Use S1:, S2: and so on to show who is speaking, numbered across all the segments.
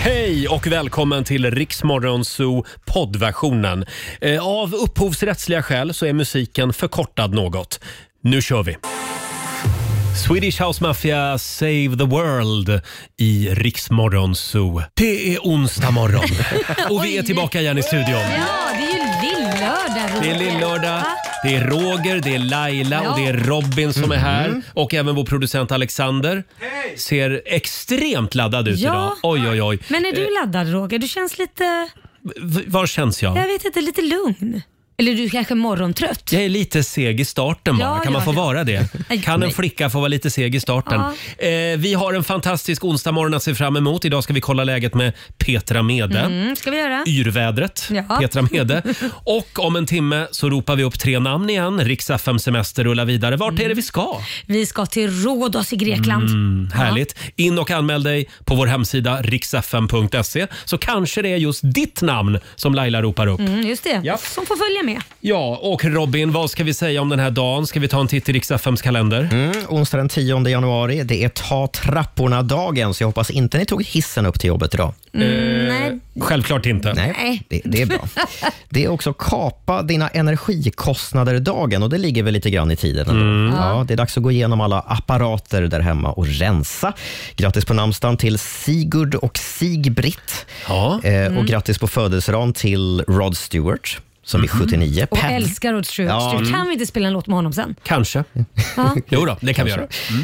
S1: Hej och välkommen till Riksmorgon Zoo poddversionen. Eh, Av upphovsrättsliga skäl så är musiken förkortad något. Nu kör vi! Swedish House Mafia Save the World i Riksmorgon Zoo. Det är onsdag morgon och vi är tillbaka igen i studion.
S2: Ja, det är ju lill-lördag. Roger.
S1: Det är lillördag.
S2: Va?
S1: Det är Roger, det är Laila och det är Robin som är
S2: Mhm.
S1: här. Och även vår producent Alexander ser extremt laddad ut
S2: Ja.
S1: idag. Oj, oj, oj.
S2: Men är du laddad Roger? Du känns lite,
S1: V- var känns jag?
S2: jag vet inte, lite lugn. Eller du är kanske morgontrött?
S1: Jag är lite seg i starten bara.
S2: Ja,
S1: kan man
S2: ja,
S1: få
S2: ja.
S1: vara det?
S2: Nej.
S1: Kan en flicka få vara lite seg i starten? Eh, vi har en fantastisk onsdag morgon att se fram emot. Idag ska vi kolla läget med Petra Mede.
S2: Mm, ska vi göra?
S1: Yrvädret,
S2: Ja.
S1: Petra Mede. Och om en timme så ropar vi upp tre namn igen. Riks FM Semester rullar vidare. Vart är det
S2: Mm.
S1: vi ska?
S2: Vi ska till Rhodos i Grekland.
S1: Mm, Härligt. In och anmäl dig på vår hemsida riksfm.se så kanske det är just ditt namn som Laila ropar upp.
S2: Mm, just det,
S1: Ja.
S2: som får följa med.
S1: Ja, och Robin, vad ska vi säga om den här dagen? Ska vi ta en titt i Riks-FMs kalender?
S3: Mm, onsdag den 10 januari. Det är ta trapporna-dagen, så jag hoppas inte ni tog hissen upp till jobbet idag.
S2: Mm,
S1: Eh.
S2: Nej.
S1: Självklart inte.
S2: Nej.
S3: Det, det är bra. Det är också kapa dina energikostnader-dagen och det ligger väl lite grann i tiden. ändå. Ja, det är dags att gå igenom alla apparater där hemma och rensa. Grattis på namnsdagen till Sigurd och Sigbritt.
S1: Ja.
S3: Eh, och grattis på födelsedagen till Rod Stewart, som är 79.
S2: Och
S3: Pad-
S2: älskar Rod Stewart.
S3: Ja. mm.
S2: Stewart. Kan vi inte spela en låt med honom sen?
S1: Kanske.
S2: Ja.
S1: Jo då, det kan vi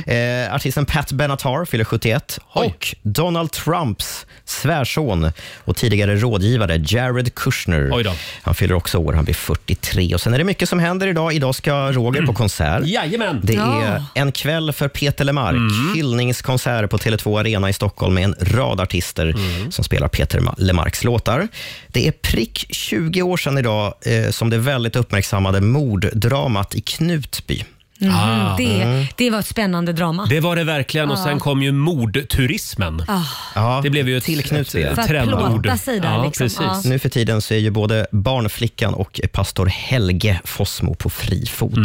S1: göra.
S3: Eh, artisten Pat Benatar fyller 71
S1: Oj.
S3: och Donald Trumps svärson och tidigare rådgivare Jared Kushner.
S1: Oj då.
S3: Han fyller också år, han blir 43. Och Sen är det mycket som händer idag. Idag ska Roger på konsert.
S1: Jajamän!
S3: Det
S2: Ja.
S3: är en kväll för Peter Lemark.
S1: Mm.
S3: Hyllningskonsert på Tele2 Arena i Stockholm med en rad artister
S1: Mm.
S3: som spelar Peter Ma- Lemarks låtar. Det är prick 20 år sedan idag eh, som det väldigt uppmärksammade morddramat i Knutby.
S1: Ah.
S2: Mhm,
S3: Mm.
S2: Det, det var ett spännande drama.
S1: Det var det verkligen och sen kom ju mordturismen.
S2: Ah.
S3: Ja,
S1: Det blev ju ett,
S3: till Knutby.
S1: ett,
S2: För
S1: ett
S2: att
S1: trendord.
S2: plåta sig där,
S1: ja,
S2: liksom.
S1: precis.
S3: Nu för tiden så är ju både Barnflickan och pastor Helge Fossmo på fri fot.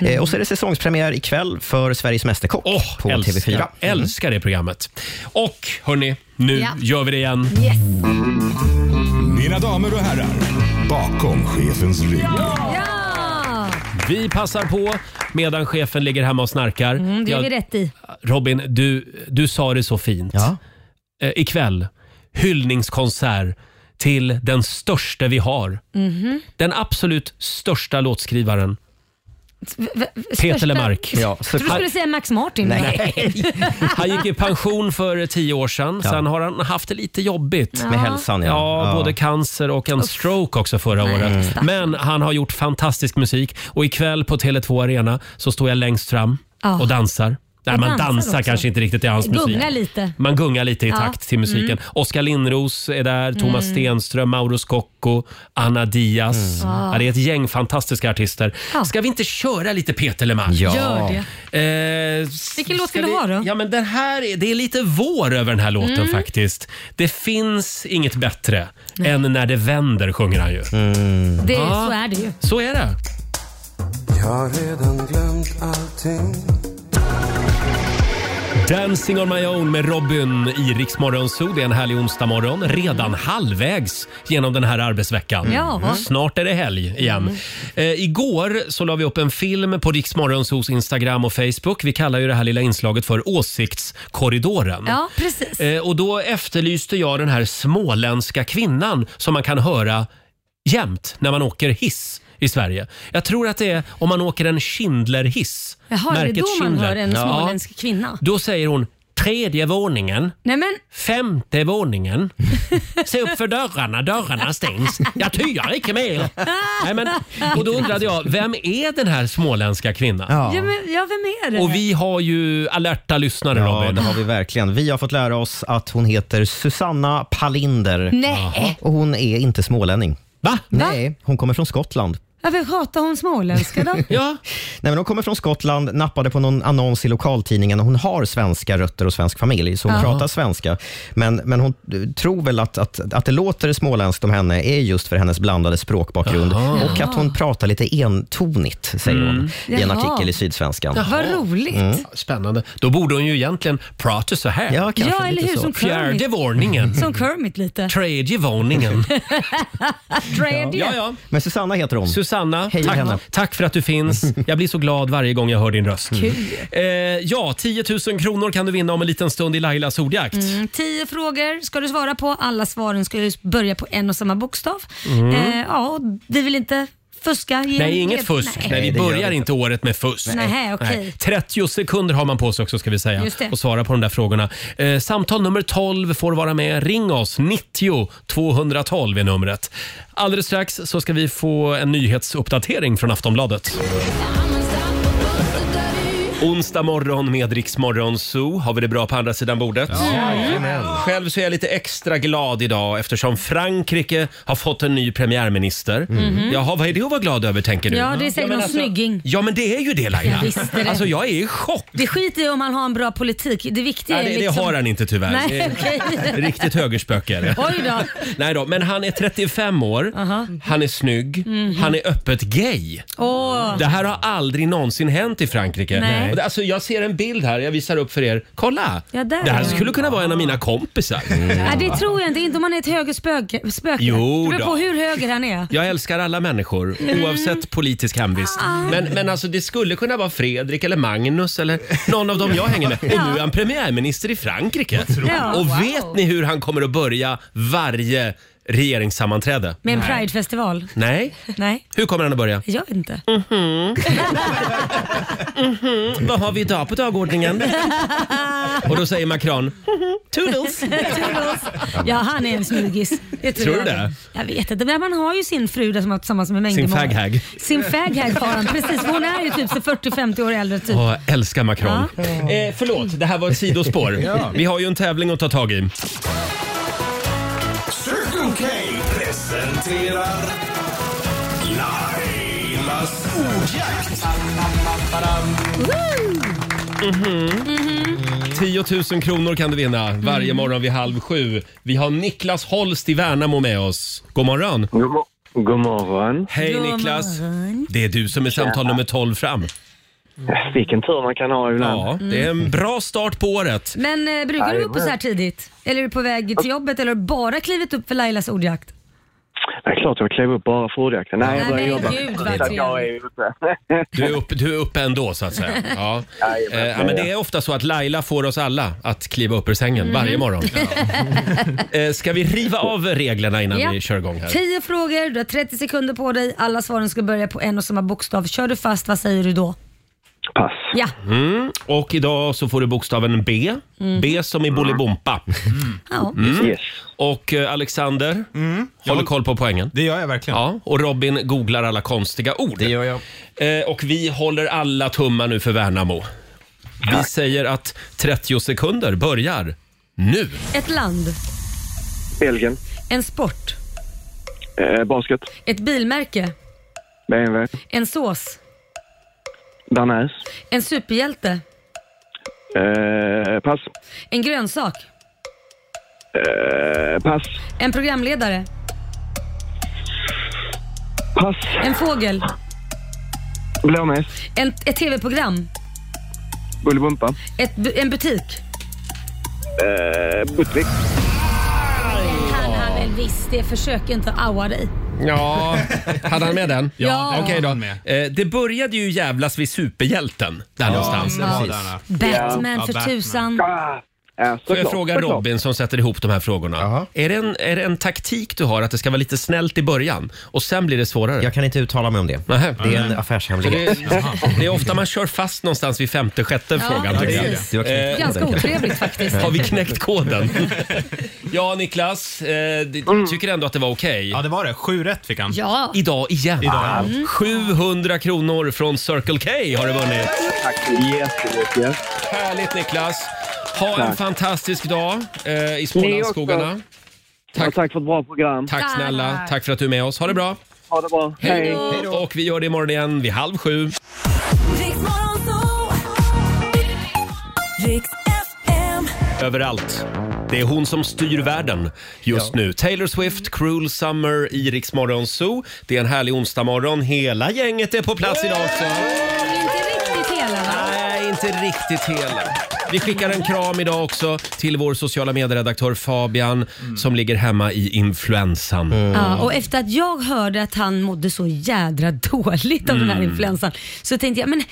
S3: Eh, och så är det säsongspremiär ikväll för Sveriges Mästerkock
S1: Mm. Åh,
S3: på
S1: älskar,
S3: TV4.
S1: älskar det programmet. Och hörni, nu
S2: Ja.
S1: gör vi det igen.
S2: Yes.
S4: Mina damer och herrar, bakom chefens rygg.
S2: Ja!
S1: Vi passar på medan chefen ligger hemma och snarkar.
S2: Mm, det är
S1: Jag-
S2: vi rätt i.
S1: Robin, du, du sa det så fint.
S3: Ja.
S1: Eh, ikväll, hyllningskonsert till den största vi har. Den absolut största låtskrivaren.
S2: V- v-
S1: Peter
S2: största-
S1: Lemark.
S3: Ja,
S2: Jag trodde du skulle säga Max Martin.
S1: Han gick i pension för tio år sedan. Sen har han haft det lite jobbigt.
S3: Med hälsan, ja.
S1: Ja, både cancer och en stroke också förra året.
S2: stackarn.
S1: Men han har gjort fantastisk musik och ikväll på Tele2 Arena så står jag längst fram
S2: Ja.
S1: och dansar. Nej,
S2: Och
S1: man
S2: dansar
S1: dansar
S2: också.
S1: kanske inte riktigt i hans musik.
S2: Gunga lite.
S1: Man gungar lite i
S2: Ja. Mm.
S1: takt till musiken. Oskar Lindros är där, Thomas Stenström, Mauro Scocco, Anna Diaz. Ja, det är ett gäng fantastiska artister.
S2: Mm. Ja.
S1: Ska vi inte köra lite Peter Lemark?
S3: Ja.
S2: Gör det.
S1: Eh,
S2: Vilken låt
S1: ska
S2: vill du
S1: vi-
S2: ha då? Mm.
S1: Ja, men den här är, det är lite vår över den här låten faktiskt. Det finns inget bättre än när det vänder, sjunger han ju.
S2: Det,
S1: Ja.
S2: Så är det ju.
S1: Så är det.
S5: Jag har redan glömt allting
S1: Dancing on my own med Robin i Rix Morgon Zoo. Det är en härlig onsdagmorgon. Redan halvvägs genom den här arbetsveckan.
S2: Ja. Mm.
S1: Snart är det helg igen. Eh, igår så la vi upp en film på Rix Morgon Zoos Instagram och Facebook. Vi kallar ju det här lilla inslaget för Åsiktskorridoren.
S2: Ja, precis.
S1: Eh, och då efterlyste jag den här småländska kvinnan som man kan höra jämt när man åker hiss i Sverige. Jag tror att det är om man åker en Schindler-hiss.
S2: Jaha, är det
S1: märket
S2: då man hör
S1: Schindler.
S2: en
S1: Ja.
S2: småländsk kvinna?
S1: Då säger hon tredje våningen,
S2: Nej men,
S1: femte våningen. Se upp för dörrarna, dörrarna stängs. Jag tyar icke mer. Nej, men, och då undrade jag, vem är den här småländska kvinnan?
S2: ja. men ja, vem är det?
S1: Och vi har ju alerta lyssnare
S3: Ja,
S1: Robin.
S3: det har vi verkligen. Vi har fått lära oss att hon heter Susanna Palinder.
S2: Nej,
S3: Och hon är inte smålänning.
S1: Va?
S3: Nej, hon kommer från Skottland.
S2: Varför pratar hon småländska då?
S1: Ja,
S3: Nej, men hon kommer från Skottland, nappade på någon annons i lokaltidningen. Hon har svenska rötter och svensk familj, så hon pratar svenska. Men, men hon eh, tror väl att, att, att det låter småländskt om henne är just för hennes blandade språkbakgrund och att hon pratar lite entonigt, säger hon i en
S2: Mm. Jaha.
S3: artikel i Sydsvenskan.
S2: Vad roligt.
S1: Mm. spännande. Då borde hon ju egentligen prata så här.
S3: Ja, kanske
S2: Ja, eller
S3: lite
S2: hur?
S3: så.
S2: Som
S1: Fjärde
S2: Kermit.
S1: våningen.
S2: Som Kermit lite.
S1: Tredje våningen.
S2: Tredje.
S1: Ja, ja.
S3: Men Susanna heter hon.
S1: Susanna,
S3: Hej,
S1: tack,
S3: Johanna.
S1: tack för att du finns. Jag blir så glad varje gång jag hör din röst. Eh, ja, 10 000 kronor kan du vinna om en liten stund i Lailas ordjakt.
S2: Mm, Tio frågor ska du svara på. Alla svaren ska ju börja på en och samma bokstav. Eh, ja, och vi vill inte fuska. Ge
S1: Mm. Nej, inget
S2: ge-
S1: fusk. Nej.
S2: Nej.
S1: vi
S3: det gör
S1: börjar
S3: vi
S1: inte året med fusk.
S2: Nej. Nej, okej.
S1: 30 sekunder har man på sig också ska vi säga
S2: Just det.
S1: och svara på de där frågorna. Eh, samtal nummer 12 får vara med. Ring oss! 90 212 är numret. Alldeles strax så ska vi få en nyhetsuppdatering från Aftonbladet. Onsdag morgon med Rix Morgon Zoo. Har vi det bra på andra sidan bordet? Mm. Själv så är jag lite extra glad idag eftersom Frankrike har fått en ny premiärminister. Jaha, vad är det att vara glad över tänker du?
S2: Mm. Ja, det är säkert
S1: men alltså-
S2: någon snygging.
S1: Ja, men det är ju det Laila.
S2: Jag visste det.
S1: Alltså jag är i chock.
S2: Det skiter i om man har en bra politik. Det viktiga
S1: Ja, det,
S2: är
S1: det
S2: liksom...
S1: har han inte tyvärr.
S2: Nej,
S1: Det är
S2: okej.
S1: Riktigt högerspöke är det.
S2: Oj då.
S1: Nej då, men han är 35 år, han är snygg, han är öppet gay.
S2: Mhm. Åh,
S1: Det här har aldrig någonsin hänt i Frankrike.
S2: Nej.
S1: Och det- Alltså, jag ser en bild här, jag visar upp för er. Kolla!
S2: Ja, där.
S1: Det här skulle kunna vara en av mina kompisar.
S2: Nej, det tror jag inte. Inte om man är ett högerspöke. Spöke.
S1: Jo
S2: det beror
S1: då.
S2: på hur höger han är.
S1: Jag älskar alla människor, oavsett politisk hemvist. Men, men alltså, det skulle kunna vara Fredrik eller Magnus eller någon av dem jag hänger med. Och nu är han premiärminister i Frankrike.
S2: Ja,
S1: Och
S2: wow.
S1: vet ni hur han kommer att börja varje regeringssammanträde?
S2: Med en pridefestival.
S1: Nej?
S2: Nej,
S1: Hur kommer han att börja?
S2: jag vet inte.
S6: Mm.
S1: Mm, Vad har vi idag på dagordningen? Och då säger Macron, toodles.
S2: Ja, han är en snyggis. Det
S1: Tror du
S2: jag.
S1: det?
S2: Jag vet inte, men han har ju sin fru där som har varit tillsammans med mängder
S1: Sin
S2: med år.
S1: faghag.
S2: Sin faghag har han, precis. Hon är ju typ så 40-50 år äldre typ.
S1: Åh, jag älskar Macron. Eh, förlåt, det här var ett sidospår. Vi har ju en tävling att ta tag i.
S4: Circle K presenterar Lailas ordjakt.
S1: 10 000 kronor kan du vinna varje morgon vid halv sju. Vi har Niklas Holst i Värnamo med oss. God morgon!
S6: God, mo- God morgon.
S1: Hej
S2: God
S1: Niklas! Det är du som är samtal nummer 12 fram.
S6: Vilken tur man kan ha ibland.
S1: Ja, det är en bra start på året.
S2: Men eh, brukar du gå upp så här tidigt? Eller är du på väg till jobbet eller har du bara klivit upp för Lailas ordjakt?
S6: Det är klart jag klev upp bara för ordjakten. Nej, jag började
S2: Nej,
S6: jobba.
S2: gud, vad
S6: Så att jag är ute.
S1: Du är, upp, du är uppe ändå så att säga. Ja. Eh, ja, men det är ofta så att Laila får oss alla att kliva upp ur sängen varje morgon. Eh, Ska vi riva av reglerna innan vi kör igång här?
S2: 10 frågor, du har 30 sekunder på dig. Alla svaren ska börja på en och samma bokstav. Kör du fast, vad säger du då?
S6: Pass.
S2: Ja,
S1: Mm. Och idag så får du bokstaven B. B som i Bolibompa.
S2: ja.
S1: Mm.
S6: Yes.
S1: Och eh, Alexander håller koll på poängen.
S7: Det gör jag verkligen.
S1: Ja, och Robin googlar alla konstiga ord.
S3: Det gör jag.
S1: Eh, och vi håller alla tummar nu för Värnamo. Vi säger att 30 sekunder börjar nu.
S2: Ett land,
S6: Belgien.
S2: en sport,
S6: Eh, basket.
S2: ett bilmärke,
S6: BMW.
S2: en sås,
S6: Danäs.
S2: en superhjälte,
S6: Eh, pass.
S2: en grönsak,
S6: Eh, pass.
S2: en programledare,
S6: Pass.
S2: en fågel,
S6: Blåmes.
S2: en, ett tv-program,
S6: Bullybumpa.
S2: ett, bu- en butik.
S6: Eh, Puttvick.
S2: Kan han väl visst det. Försök inte att aua dig.
S1: Ja, hade han med den?
S2: Ja.
S1: Okej då.
S7: Han med.
S1: Eh, det började ju jävlas vid superhjälten där någonstans.
S7: Det var
S1: Precis.
S7: där, ja.
S2: Batman
S7: Ja,
S2: för
S7: Batman.
S2: tusan.
S6: Ah, ja,
S1: Får jag
S6: såklart,
S1: fråga
S6: såklart.
S1: Robin som sätter ihop de här frågorna.
S3: Jaha.
S1: Är det, en, är det en taktik du har att det ska vara lite snällt i början och sen blir det svårare?
S3: Jag kan inte uttala mig om det.
S1: Nähä.
S3: Det är en
S1: Så
S3: affärshemlighet.
S1: det, det är ofta man kör fast någonstans vid femte, sjätte frågan. tycker jag.
S2: precis.
S3: Du har knäckt koden,
S2: Ganska
S3: kanske.
S2: otrevligt faktiskt.
S1: Har vi knäckt koden? ja, Niklas. Eh, d-
S6: Mm.
S1: tycker ändå att det var okej.
S7: ja, det var det. Sju rätt fick han.
S2: Ja,
S1: Idag igen.
S7: Idag.
S1: 700 kronor från Circle K har du vunnit.
S6: Tack så jättemycket.
S1: Härligt Niklas. Ha en
S6: Tack.
S1: fantastisk dag eh, i
S6: Ni också.
S1: Smålandsskogarna.
S6: Tack.
S1: Tack.
S6: Och tack för ett bra program.
S1: Tack snälla. Tack för att du är med oss. Ha det bra.
S6: Ha det bra.
S1: Hej då! Och vi gör det imorgon igen vid halv sju.
S7: Riks FM.
S1: Överallt. Det är hon som styr världen just nu. Taylor Swift, Cruel Summer i Rix Morgon Zoo. Det är en härlig onsdagmorgon. Hela gänget är på plats idag också.
S2: Inte riktigt hela. va?
S1: Nej, inte riktigt hela. Vi skickar en kram idag också till vår sociala medieredaktör Fabian som ligger hemma i influensan.
S2: Ja, och efter att jag hörde att han mådde så jädra dåligt av den
S1: Mm.
S2: här influensan så tänkte jag, men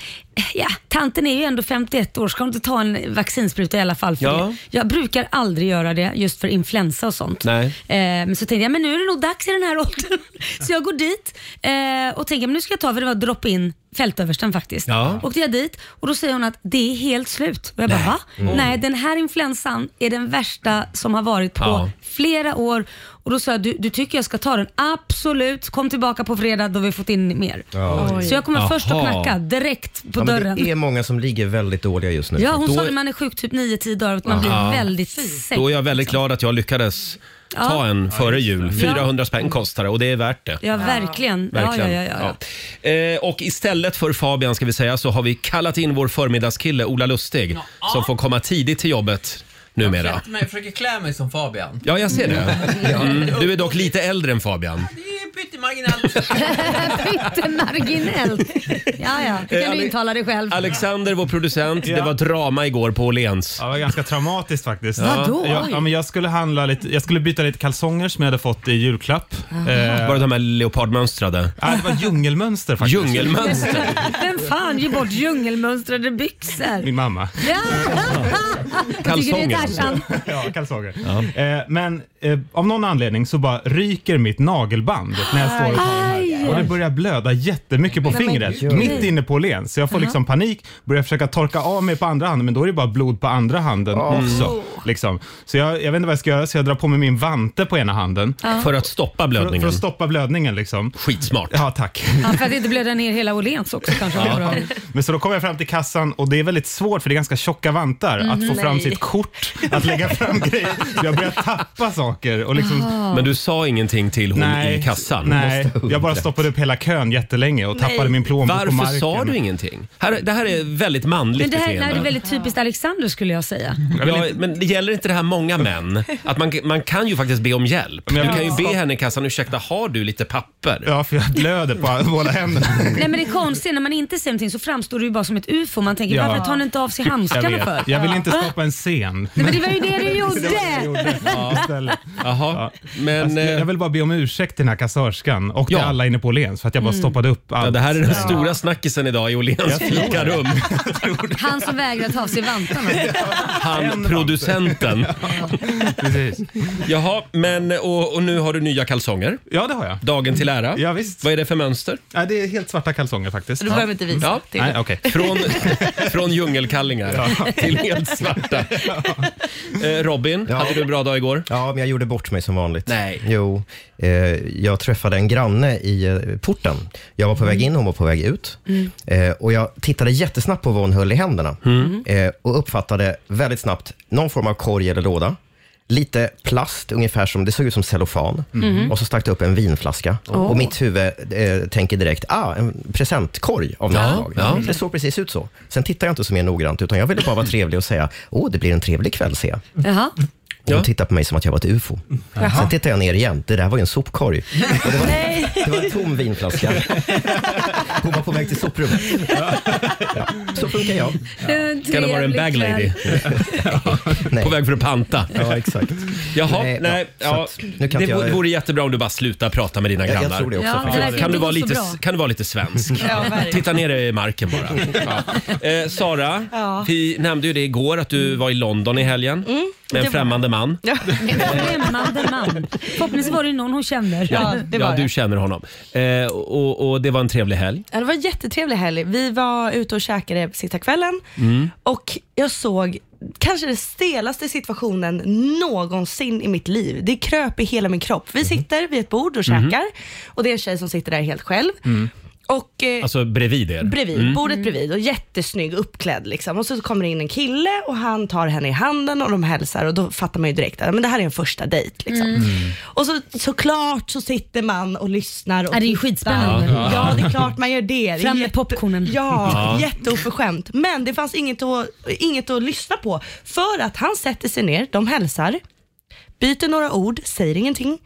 S2: ja, tanten är ju ändå 51 år, ska hon inte ta en vaccinspruta i alla fall för
S1: Ja.
S2: det? Jag brukar aldrig göra det just för influensa och sånt.
S1: Nej.
S2: Eh, men så tänkte jag, men nu är det nog dags i den här åldern. Så jag går dit eh, och tänker, men nu ska jag ta, för det var drop-in fältöversten faktiskt.
S1: Ja.
S2: Åkte jag dit och då säger hon att det är helt slut. Och jag bara, va?
S1: Mm.
S2: Nej, den här influensan är den värsta som har varit på
S1: Ja.
S2: flera år. Och då sa jag, du, du tycker jag ska ta den? Absolut, kom tillbaka på fredag då har vi fått in mer. Så jag kommer
S1: Jaha.
S2: först att knacka direkt på
S3: Ja, men
S2: dörren.
S3: det är många som ligger väldigt dåliga just nu.
S2: Ja, hon
S1: Då
S2: sa
S1: är-
S2: att man är sjuk typ 9-10 dagar och att man
S1: Aha.
S2: blir väldigt säck.
S1: Då är jag väldigt glad att jag lyckades ta
S2: Liksom. Ja. Mm.
S1: en före jul. 400 spänn kostar det och det är värt det.
S2: Ja, verkligen. Ja, ja,
S1: Verkligen.
S2: ja, ja, ja.
S1: Ja. Eh, och istället för Fabian ska vi säga så har vi kallat in vår förmiddagskille Ola Lustig som får komma tidigt till jobbet numera.
S8: Men jag försöker klä mig som Fabian.
S1: Ja, jag ser det. Mm, du är dock lite äldre än Fabian.
S8: Det är pyttemarginellt.
S2: Pyttemarginellt. Ja, ja. Det kan
S1: Eh,
S2: du
S1: Ale-
S2: intala dig själv.
S1: Alexander, vår producent. Det var drama igår på Åhléns.
S9: Ja, det var ganska traumatiskt faktiskt.
S2: Vadå?
S9: Jag, ja, men jag, skulle handla lite, jag skulle byta lite kalsonger som jag hade fått i julklapp. Eh,
S1: Var det de här leopardmönstrade?
S9: ah, det var djungelmönster faktiskt.
S1: Djungelmönster?
S2: Vem fan ger bort djungelmönstrade byxor?
S9: Min mamma.
S2: Ja. Tycker du
S1: Kalsonger.
S2: det är tarzan?
S9: Ja, kalsonger. Eh, men eh, av någon anledning så bara ryker mitt nagelband när jag står och tar den här. Och det börjar blöda jättemycket på fingret. Mitt inne på Åhléns. Så jag får liksom panik, börjar försöka torka av mig på andra handen men då är det bara blod på andra handen också. Liksom. Så jag, jag vet inte vad jag ska göra så jag drar på mig min vante på ena handen.
S1: För att stoppa
S9: För, för
S1: blödningen.
S9: att stoppa blödningen liksom.
S1: Skitsmart.
S9: Ja, tack.
S2: Ja, för att inte blöda ner hela Åhléns också kanske. Ja.
S9: Men så då kommer jag fram till kassan och det är väldigt svårt för det är ganska tjocka vantar att få fram sitt kort, att lägga fram grejer. Jag börjar tappa saker och liksom
S1: Men du sa ingenting till hon
S9: Nej,
S1: i kassan?
S9: Nej, jag bara stoppade upp hela kön jättelänge och tappade min plånbok på marken.
S1: Varför sa du ingenting? Här, det här är väldigt manligt
S2: Men det här nej,
S1: beteende.
S2: det är väldigt typiskt Alexander skulle jag säga.
S1: Ja, men det gäller inte det här många män? Att man, man kan ju faktiskt be om hjälp. Du
S9: Men jag-
S1: kan ju be henne i kassan, ursäkta har du lite papper?
S9: Ja, för jag blöder på båda händerna.
S2: Nej men det är konstigt, när man inte ser någonting så framstår det ju bara som ett ufo. Man tänker
S9: Ja.
S2: varför tar han inte av sig
S9: Jag,
S2: handskarna för?
S9: vet. jag vill inte
S2: Va?
S9: skapa en scen.
S2: Nej, men det var ju det du
S9: Det var det jag
S2: gjorde!
S9: gjorde istället.
S1: Jaha, men
S9: Alltså, jag
S1: eh,
S9: jag vill bara be om ursäkt till den här kassörskan och till
S1: Ja.
S9: alla inne på Åhléns för att jag
S2: Mm.
S9: bara stoppade upp allt.
S1: ja, eh, det här är den stora snackisen idag i Åhléns fikarum.
S2: Han som vägrade ta av sig vantarna.
S1: Han producenten.
S9: Precis.
S1: Jaha, men och, och nu har du nya kalsonger.
S9: Ja, det har jag.
S1: Dagen till ära.
S9: Ja, visst.
S1: Vad är det för mönster?
S9: Ja, det är helt svarta kalsonger faktiskt.
S8: Du behöver vi inte visa.
S1: Ja.
S8: till.
S9: Nej, okej.
S1: Från, från djungelkallingar till helt svarta. Eh, Robin, hade du en bra dag igår?
S3: Ja, men jag gjorde bort mig som vanligt.
S1: Nej.
S3: Jo, eh, jag träffade en granne i eh, porten. Jag var på väg in, hon var på väg ut.
S1: Mm.
S3: Eh, och Jag tittade jättesnabbt på vad hon höll i händerna
S1: Mm.
S3: eh, och uppfattade väldigt snabbt någon form av korg eller låda. Lite plast, ungefär som, det såg ut som cellofan.
S1: Mm.
S3: Och så stack det upp en vinflaska. Och mitt huvud eh, tänker direkt, ah, en presentkorg av något
S1: Ja,
S3: slag.
S1: ja.
S3: Det såg precis ut så. Sen tittade jag inte så mer noggrant, utan jag ville bara vara trevlig och säga, åh, det blir en trevlig kväll, ser jag.
S2: Jaha.
S3: Hon
S1: Ja.
S3: tittar på mig som att jag var ett ufo. Sen tittar jag ner igen. Det där var ju en sopkorg. Och det, var, det var en tom vinflaska. Hon var på väg till soprummet. Ja. Så funkar jag.
S1: Kan det vara en bag lady?
S3: Nej.
S1: På väg för att panta.
S3: Ja, exakt.
S1: Jaha, nej.
S3: Nej, ja,
S1: ja,
S3: så att nu kan
S1: det
S3: inte jag-
S1: vore- vore jättebra om du bara slutar prata med dina
S3: Jag,
S1: grannar.
S3: jag tror det också.
S2: Ja,
S3: faktiskt.
S2: det verkar
S1: Kan
S2: inte
S1: du, vara
S2: gå så
S1: lite,
S2: bra.
S1: kan du vara lite svensk?
S8: Ja, verkligen.
S1: Titta ner i marken bara. Ja. Eh, Sara, vi nämnde ju det igår att du var i London i helgen med en främmande man.
S2: Främmande man. Förhoppningsvis var det ju någon hon känner.
S8: Ja, det var
S1: Ja, du
S8: det.
S1: känner honom. Eh, och, och det var en trevlig helg.
S7: Ja, det var en jättetrevlig helg. Vi var ute och käkade sista kvällen och jag såg kanske den stelaste situationen någonsin i mitt liv. Det kröp i hela min kropp. Vi sitter vid ett bord och käkar och det är en tjej som sitter där helt själv. Och, eh,
S1: Alltså bredvid er?
S7: bredvid, bordet bredvid och jättesnygg uppklädd liksom. Och så kommer det in en kille och han tar henne i handen och de hälsar och då fattar man ju direkt att men det här är en första dejt. Liksom. Och så, såklart så sitter man och lyssnar. Och
S2: Ja, det är ju
S7: tittar.
S2: skitspännande.
S7: Ja. det är klart man gör det. det. är
S2: Fram med
S7: jätte-
S2: popcornen.
S7: Ja, jätteoförskämt. Men det fanns inget att, inget att lyssna på för att han sätter sig ner, de hälsar, byter några ord, säger ingenting.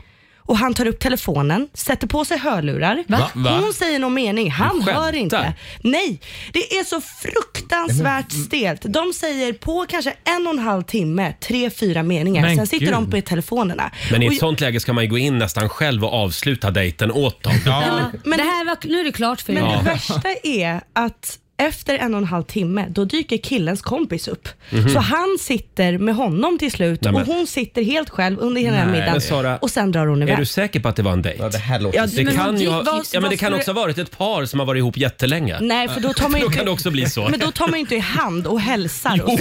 S7: Och han tar upp telefonen, sätter på sig hörlurar.
S2: Va?
S10: Va?
S7: Hon säger någon mening, han
S10: Du
S7: hör
S10: skämtar.
S7: inte. Nej, det är så fruktansvärt stelt. De säger på kanske en och en halv timme, tre, fyra meningar.
S9: Men
S7: Sen sitter de
S9: gud.
S7: på telefonerna.
S1: Men i
S7: Och
S1: ett sånt läge ska man ju gå in nästan själv och avsluta dejten åt dem.
S2: Ja,
S7: men-
S2: det här var, nu är det klart för er.
S7: Men det värsta är att efter en och en halv timme, då dyker killens kompis upp. Så han sitter med honom till slut
S1: Mhm. Nej, men-
S7: och hon sitter helt själv under hela den här
S1: Nej.
S7: middagen
S1: Men Sara,
S7: och sen drar hon
S1: Är
S7: iväg.
S1: du säker på att det var en dejt?
S3: Ja, det här låter
S7: Ja,
S1: Det
S7: men
S1: kan
S7: vad-
S1: ju ha,
S7: vad-
S1: ja, men
S7: vad
S1: det kan
S7: skulle-
S1: också ha varit ett par som har varit ihop jättelänge.
S7: Nej, för då tar man ju
S1: Då
S7: inte...
S1: kan det också bli så.
S7: Men då tar man ju inte i hand och hälsar. Och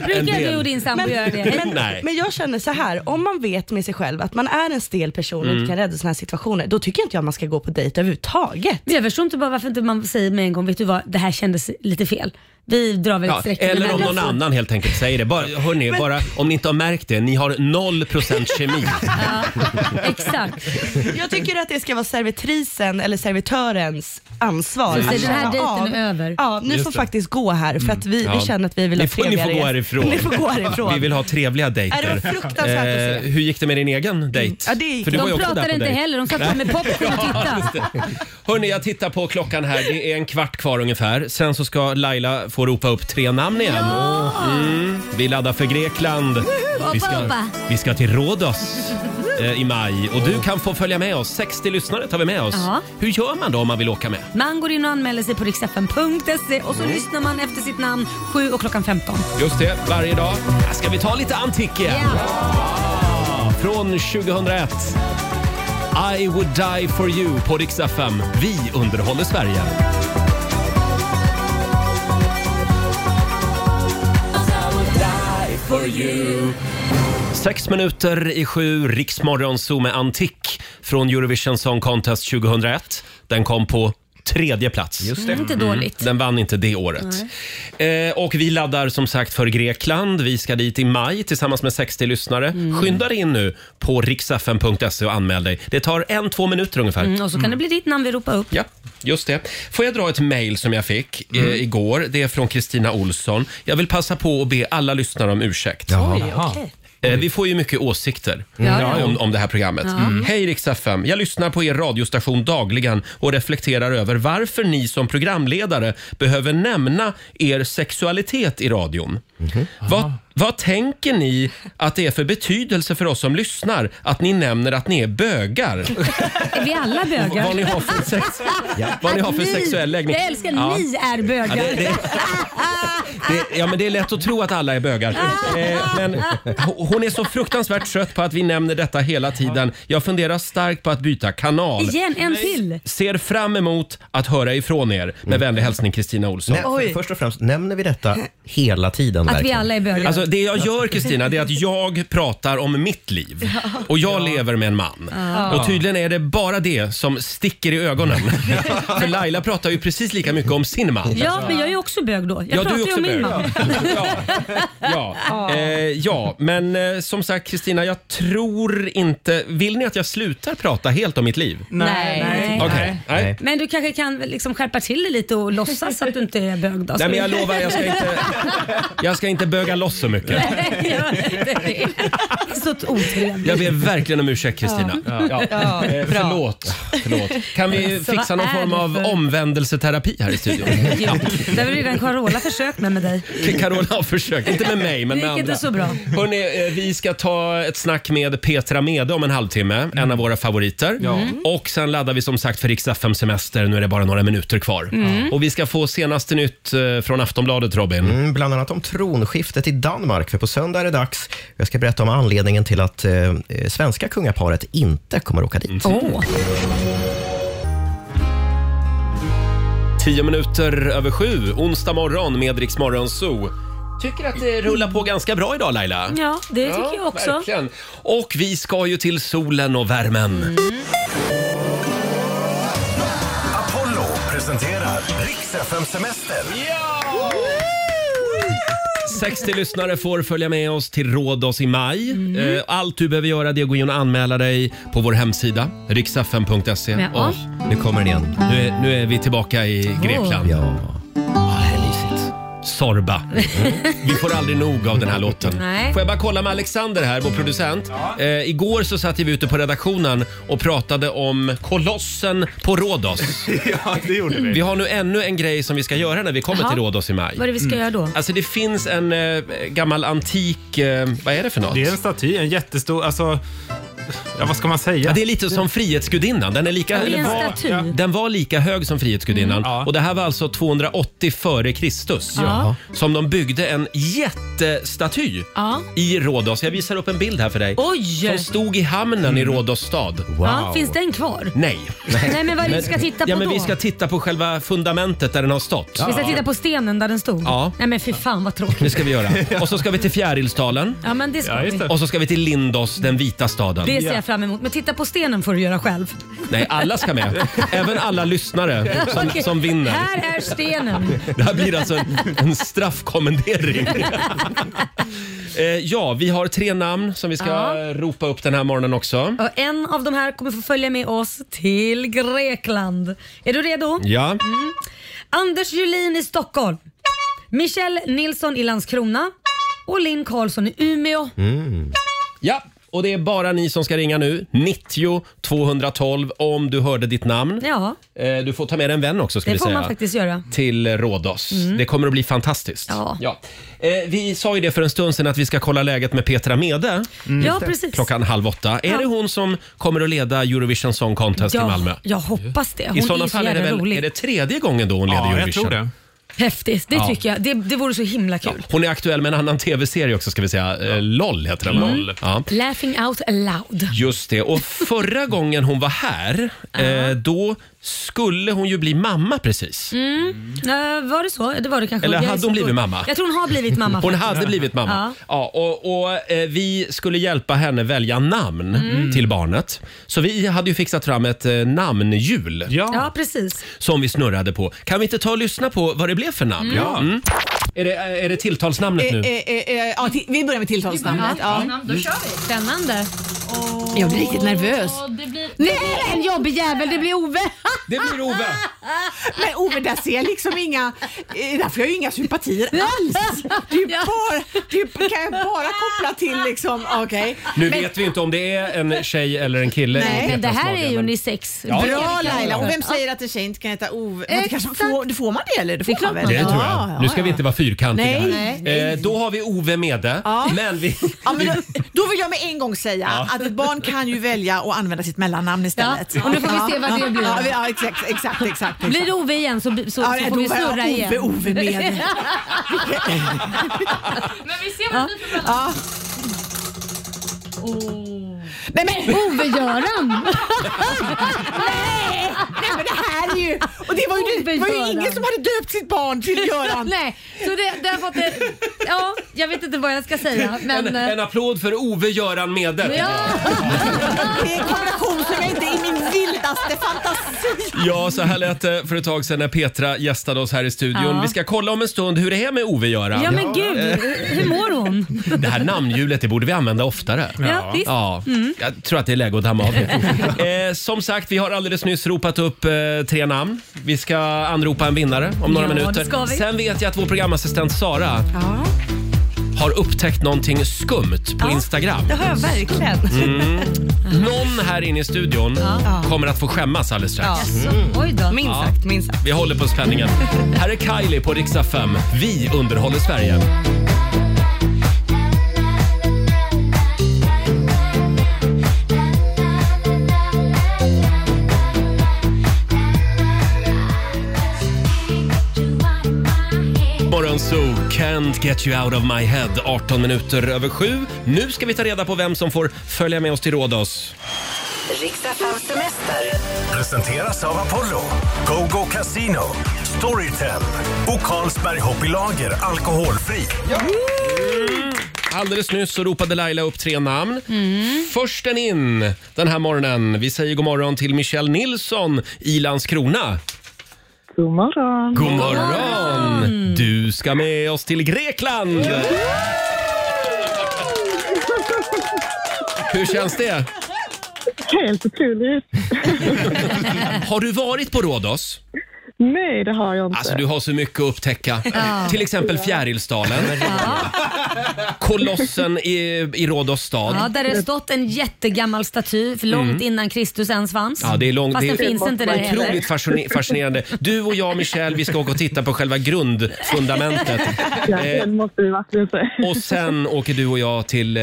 S1: en
S2: Brukar
S1: del.
S2: du och din sambo
S7: Men-
S2: göra det?
S1: men- Nej.
S7: Men jag känner så här, om man vet med sig själv att man är en stel person
S1: Mm.
S7: och inte kan rädda sådana här situationer, då tycker inte jag man ska gå på dejt överhuvudtaget.
S2: Jag förstår inte bara varför inte man säger med en gång, vet du vad, det här kändes lite fel. Vi drar väl ett
S1: Ja,
S2: streck under
S1: eller
S2: den
S1: om
S2: här."
S1: någon annan helt enkelt säger det. Bara, hörni, bara, om ni inte har märkt det, ni har 0% kemi.
S2: Exakt.
S7: Jag tycker att det ska vara servitrisen eller servitörens ansvar.
S2: Så
S7: att
S2: säger, "Den här
S7: känna
S2: dejten
S7: av-
S2: är över."
S7: Ja, ni
S1: Just
S7: får
S1: det. Mm,
S7: faktiskt gå här för att vi, vi känner att vi vill
S1: Ni
S7: ha
S1: får- ni får
S7: trevligare
S1: gå
S7: gäster."
S1: härifrån.
S7: Ni får gå härifrån.
S1: Vi vill ha Eh, trevliga
S7: Nej, det var
S1: dejter.
S7: fruktansvärt att se.
S1: hur gick det med din
S2: Mm.
S1: egen dejt?
S7: Ja, det gick-
S1: För du var ju
S2: De
S1: också där
S2: pratade
S1: på
S2: inte
S1: dejt.
S2: heller, de satt bara med popcorn och tittade.
S1: Hörni, jag tittar på klockan här. Det är en kvart kvar ungefär. Sen så ska Laila få ropa upp tre namn igen. Mm. Vi laddar för Grekland. Vi ska,
S2: hoppa.
S1: vi ska till Rhodos eh, i maj. Och du kan få följa med oss. 60 lyssnare tar vi med oss.
S2: Ja.
S1: Hur gör man då om man vill åka med?
S2: Man går in och anmäler sig på riksfn.se och så
S1: Mm.
S2: lyssnar man efter sitt namn 7 och klockan 15.
S1: Just det, varje dag. Här Ska vi ta lite antik igen? Ah,
S2: Ja.
S1: Från 2001. I would die for you på Rix FM. Vi underhåller Sverige. Sex minuter i sju, Riksmorgon Zoo med Antik från Eurovision Song Contest 2001. Den kom på tredje plats.
S2: Inte
S1: Mm.
S2: dåligt.
S1: Den vann inte det året. Eh, och vi laddar som sagt för Grekland. Vi ska dit i maj tillsammans med 60 lyssnare. Skynda dig in nu på riksfn.se och anmäl dig. Det tar en, två minuter ungefär.
S2: Mm, och så kan det bli ditt namn vi ropar upp.
S1: Ja, just det. Får jag dra ett mejl som jag fick eh, igår? Det är från Kristina Olsson. Jag vill passa på att be alla lyssnare om ursäkt. Eh, Vi får ju mycket åsikter
S2: Ja, ja.
S1: Om, om det här programmet. Mm. Hej Rix FM. Jag lyssnar på er radiostation dagligen och reflekterar över varför ni som programledare behöver nämna er sexualitet i radion. Vad, vad tänker ni att det är för betydelse för oss som lyssnar att ni nämner att ni är bögar?
S2: Är vi alla bögar?
S1: vad ni har för, sex, vad ni har för
S2: Ni-
S1: sexuell läggning.
S2: Jag älskar,
S1: Ja.
S2: ni är bögar.
S1: Ja, det, det, det, ja, men det är lätt att tro att alla är bögar.
S2: Ah.
S1: Eh, men ho- hon är så fruktansvärt trött på att vi nämner detta hela tiden. Jag funderar starkt på att byta kanal.
S2: Igen, en till.
S1: Ser fram emot att höra ifrån er. Med vänlig hälsning Kristina Olsson.
S3: Nej, för, först och främst, nämner vi detta hela
S2: Att
S3: tiden?
S2: vi
S3: verkligen?
S2: alla är bögar.
S1: Alltså, det jag gör Kristina, det är att jag pratar om mitt liv. Och jag lever med en man. Och tydligen är det bara det som sticker i ögonen. För Laila pratar ju precis lika mycket om sin man.
S2: ja, men jag är ju också bög då. Jag
S1: Ja,
S2: pratar
S1: du
S2: ju
S1: är också
S2: om min
S1: bög.
S2: man.
S1: Ja, ja. Eh, ja. men eh, som sagt Kristina, jag tror inte... Vill ni att jag slutar prata helt om mitt liv?
S2: Nej. Nej.
S1: Okej. Nej. Nej.
S3: Nej.
S2: Men du kanske kan liksom skärpa till dig lite och låtsas att du inte är bög då?
S1: men jag lovar, jag ska, inte, jag ska inte böga loss så mycket.
S2: Nej, gör inte det. Så otrevligt.
S1: Jag ber verkligen om ursäkt Kristina. Ja.
S7: Ja,
S1: Eh,
S7: bra.
S1: förlåt. förlåt. Kan vi
S2: Så
S1: fixa
S2: vad
S1: någon
S2: är
S1: form
S2: det
S1: av
S2: för-
S1: omvändelseterapi här i studion?
S2: Gud, Det har väl redan Carola försökt med med dig.
S1: Carola har försökt, inte med mig men
S2: Det
S1: med
S2: gick inte
S1: andra.
S2: så bra.
S1: Hörrni, eh, vi ska ta ett snack med Petra Mede om en halvtimme, en
S2: Mm.
S1: av våra favoriter. Mm. Och sen laddar vi som sagt för Rix FM semester, nu är det bara några minuter kvar.
S2: Mm.
S1: Och vi ska få senaste nytt eh, från Aftonbladet Robin.
S3: Mm, bland annat om tronskiftet i Danmark, för på söndag är det dags. Jag ska berätta om anledningen till att eh, eh, svenska kungaparet inte kommer åka dit.
S2: Åh,
S1: Tio minuter över sju, onsdag morgon med Rix Morgon Zoo. Tycker att det rullar på ganska bra idag Laila.
S2: Ja, det tycker jag också.
S1: Verkligen. Och vi ska ju till solen och värmen.
S4: är Riks FM-semester.
S1: 60 lyssnare får följa med oss till Rhodos i maj.
S2: Mm.
S1: Eh, Allt du behöver göra det är att gå in och anmäla dig på vår hemsida, riksfm.se.
S2: Ja.
S1: Och
S3: Nu kommer den igen.
S1: nu, är, nu är vi tillbaka i Grekland.
S3: Ja. Ah, här är mysigt.
S1: Sorba. Vi får aldrig nog av den här låten.
S2: Nej.
S1: Får jag bara kolla med Alexander här, vår producent. Eh, igår så satt vi ute på redaktionen och pratade om Kolossen på Rhodos.
S9: Ja, det gjorde vi.
S1: Vi har nu ännu en grej som vi ska göra när vi kommer
S2: Jaha.
S1: till Rhodos i maj.
S2: Vad är det vi ska göra då?
S1: Alltså det finns en eh, gammal antik, eh, vad är det för något?
S9: Det är en staty, en jättestor, alltså, ja vad ska man
S1: Ja,
S9: säga?
S1: det är lite som Frihetsgudinnan. Den, är lika,
S2: Det är en Mm,
S1: eller var,
S2: staty.
S9: ja.
S1: den var lika hög som Frihetsgudinnan.
S9: Ja.
S1: Och det här var alltså 280 före Kristus.
S2: Ja.
S1: Som de byggde en jättestaty
S2: Ja.
S1: i Rhodos. Jag visar upp en bild här för dig.
S2: Oj! Mm.
S1: Som stod i hamnen i Rhodos stad.
S2: Ja, finns den kvar?
S1: Nej.
S2: Nej men vad är det vi ska titta på
S1: ja, men
S2: då?
S1: vi ska titta på själva fundamentet där den har stått.
S2: Vi ska titta på stenen där den stod?
S1: Ja.
S2: Nej men fy fan vad
S1: Det
S2: tråkigt.
S1: ska vi göra. Och så ska vi till Fjärilsdalen.
S2: Ja men det ska
S9: Ja, just
S2: vi.
S9: det.
S1: Och så ska vi till Lindos, den vita staden.
S2: Det ser jag fram emot. Men titta på stenen får du göra själv.
S1: Nej, alla ska med. Även alla lyssnare som,
S2: Okej.
S1: som vinner.
S2: Här är stenen.
S1: Det här blir alltså en, en straffkommendering. eh, ja, vi har tre namn som vi ska
S2: Ja.
S1: ropa upp den här morgonen också.
S2: Och en av de här kommer få följa med oss till Grekland. Är du redo?
S1: Ja,
S2: Anders Julin i Stockholm. Michelle Nilsson i Landskrona. Och Linn Karlsson i Umeå.
S1: Mm. ja. Och det är bara ni som ska ringa nu. 90 212 om du hörde ditt namn.
S2: Ja,
S1: Eh, du får ta med dig en vän också ska
S2: det
S1: vi
S2: får
S1: säga.
S2: man faktiskt göra.
S1: till Rhodos. Det kommer att bli fantastiskt.
S2: Ja.
S1: Eh, vi sa ju det för en stund sedan att vi ska kolla läget med Petra Mede
S2: Ja, precis.
S1: Mm. klockan halv åtta. Är
S2: Ja.
S1: det hon som kommer att leda Eurovision Song Contest i Malmö?
S2: Ja, jag hoppas det. Hon
S1: I sådana
S2: är
S1: fall
S2: så
S1: är det
S2: jävla
S1: väl
S2: rolig.
S1: är det tredje gången då hon leder
S9: Ja, jag
S1: Eurovision?
S9: tror det.
S2: Häftigt, det tycker jag. Det, det vore så himla kul.
S1: Hon är aktuell med en annan tv-serie också ska vi säga. Eh, LOL heter den
S9: Mm.
S1: LOL. Ja.
S2: Laughing out aloud.
S1: Just det. Och förra gången hon var här, eh, då skulle hon ju bli mamma precis.
S2: Eh, var det så? Det var det kanske.
S1: Eller
S2: Jag är
S1: hade
S2: så
S1: hon blivit
S2: dålig.
S1: mamma?
S2: Jag tror hon har blivit mamma.
S1: Hon
S2: faktiskt.
S1: hade blivit mamma. Ja. och och eh, vi skulle hjälpa henne välja namn till barnet. Så vi hade ju fixat fram ett eh, namnhjul
S2: Ja, precis.
S1: som vi snurrade på. Kan vi inte ta och lyssna på vad det blev för namn?
S9: Ja.
S1: Mm. Är, det, är det tilltalsnamnet nu?
S10: Eh, ja, ti- vi börjar med tilltalsnamnet. Ja.
S2: Spännande.
S10: Jag blir riktigt nervös. Nej, en jobbig jävel, det blir Ove.
S1: Det blir Ove!
S10: Men Ove, där ser jag liksom inga... eh, Där får jag ju inga sympatier alls. Det är ju bara, det
S7: typ,
S10: är ju- kan jag bara koppla till liksom... Okej.
S1: Nu
S10: Men-
S1: vet vi inte om det är en tjej eller en kille. i
S10: Nej,
S2: Men det
S1: Petras
S2: här
S1: mage,
S2: är ju
S1: men-
S2: unisex.
S1: Ja,
S10: Bra
S1: ja, ja.
S10: Laila! Och vem säger att en tjej inte kan heta Ove? Men det kanske
S2: Exakt.
S10: får, det får man det eller? Det får
S2: Det är klart
S10: man väl?
S2: man
S1: Det tror jag.
S10: Ja, ja,
S1: nu ska vi
S10: ja.
S1: inte vara fyrkantiga
S10: Nej,
S1: här. Eh, då har vi Ove med det. Men vi,
S10: Ja, men då, då vill jag med en gång säga att ett barn kan ju välja att använda sitt mellannamn istället.
S2: Ja, och nu får vi se vad det blir.
S10: Ja, ja exakt, exakt, exakt.
S2: Blir det Ove igen så, så, så
S10: Ja,
S2: får
S10: då
S2: vi
S10: var jag
S2: snurra igen.
S10: Ove, Ove med. Ja. Nej men,
S2: Ove-Göran!
S10: nej men det här är ju... Och det var ju, det var ju ingen som hade döpt sitt barn till Göran.
S2: Nej, så det, det har fått ett, Ja, jag vet inte vad jag ska säga. Men, eh,
S1: en, en applåd för Ove-Göran Mede.
S2: ja,
S10: Det är en kombination som jag inte i min vildaste fantasi...
S1: Ja, så här lät det för ett tag sedan när Petra gästade oss här i studion.
S2: Ja.
S1: Vi ska kolla om en stund hur det är med Ove-Göran.
S2: ja men gud, hur mår hon?
S1: Det här namnhjulet det borde vi använda oftare.
S2: Ja, visst. Mm.
S1: Ja, jag tror att det är läge att damma av det. eh, som sagt, vi har alldeles nyss ropat upp eh, tre namn. Vi ska anropa en vinnare om några
S2: Ja, det
S1: minuter.
S2: ska vi.
S1: Sen vet jag att vår programassistent Sara har upptäckt någonting skumt på Instagram.
S10: Det har jag verkligen.
S2: Mm.
S1: Någon här inne i studion kommer att få skämmas alldeles strax.
S2: Så, oj då.
S7: Minst sagt, minst sagt.
S1: Vi håller på spänningen. Här är Kylie på Riksa 5. Vi underhåller Sverige. Morgon Zoo, Can't get you out of my head. 18 minuter över sju. Nu ska vi ta reda på vem som får följa med oss till Rhodos.
S10: Riksdagens semester.
S4: Presenteras av Apollo, GoGo Casino, Storytel och Carlsberg Hoppylager alkoholfri.
S1: Alldeles nyss så ropade Laila upp tre namn. Försten in den här morgonen. Vi säger god morgon till Michelle Nilsson i Landskrona.
S11: God morgon.
S1: God morgon! Du ska med oss till Grekland! Hur känns det?
S11: Helt otroligt.
S1: Har du varit på Rhodos?
S11: Nej, det har jag inte.
S1: Alltså du har så mycket att upptäcka.
S11: Ja.
S1: Till exempel Fjärilsdalen. Kolossen i, i Rhodos stad.
S2: Ja, där det stått en jättegammal staty för långt
S1: Mm.
S2: innan Kristus ens fanns.
S1: Ja, det är långt.
S2: Fast
S1: det
S2: den
S1: är
S2: finns inte där heller.
S1: Otroligt fascine- fascinerande. Du och jag, Michelle, vi ska åka och titta på själva grundfundamentet.
S11: Ja,
S1: Eh,
S11: den måste vi verkligen se.
S1: och sen åker du och jag till, eh,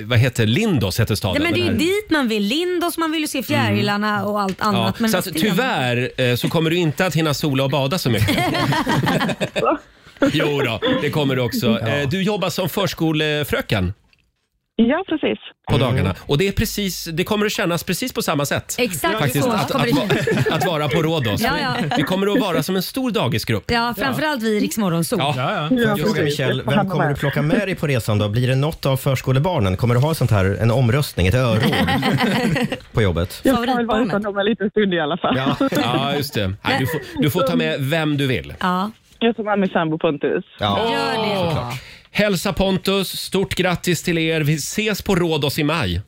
S1: vad heter Lindos heter
S2: Ja,
S1: staden.
S2: men det är
S1: Den
S2: ju
S1: här-
S2: dit man vill. Lindos, man vill ju se fjärilarna och allt annat.
S1: Ja,
S2: men
S1: så att,
S2: resten-
S1: tyvärr eh, så kommer du inte att hinna sola och bada så mycket. Jo då, det kommer du också. Eh, Du jobbar som förskolefröken
S11: Ja, precis.
S1: på dagarna och det, är precis, det kommer att kännas precis på samma sätt.
S2: Exakt
S1: Faktiskt,
S2: så
S1: att,
S2: kommer
S1: att,
S2: det
S1: va- att vara på Rhodos.
S2: Ja, ja.
S1: Vi kommer att vara som en stor dagisgrupp.
S2: Ja, framförallt vi i Rix Morgonzoo.
S3: Får jag Fråga Michelle, vem kommer du plocka med dig på resan då? Blir det något av förskolebarnen? Kommer du ha sånt här, en omröstning, ett öråd på jobbet?
S11: Jag får väl vara utan dem en liten stund i alla fall.
S3: Ja.
S1: Ja, just det. Nej, du, får, du får ta med vem du vill.
S2: Ja.
S11: Jag tar med min sambo Pontus.
S1: Ja. Gör det. Såklart. Hälsa Pontus, stort grattis till er. Vi ses på Rhodos i maj.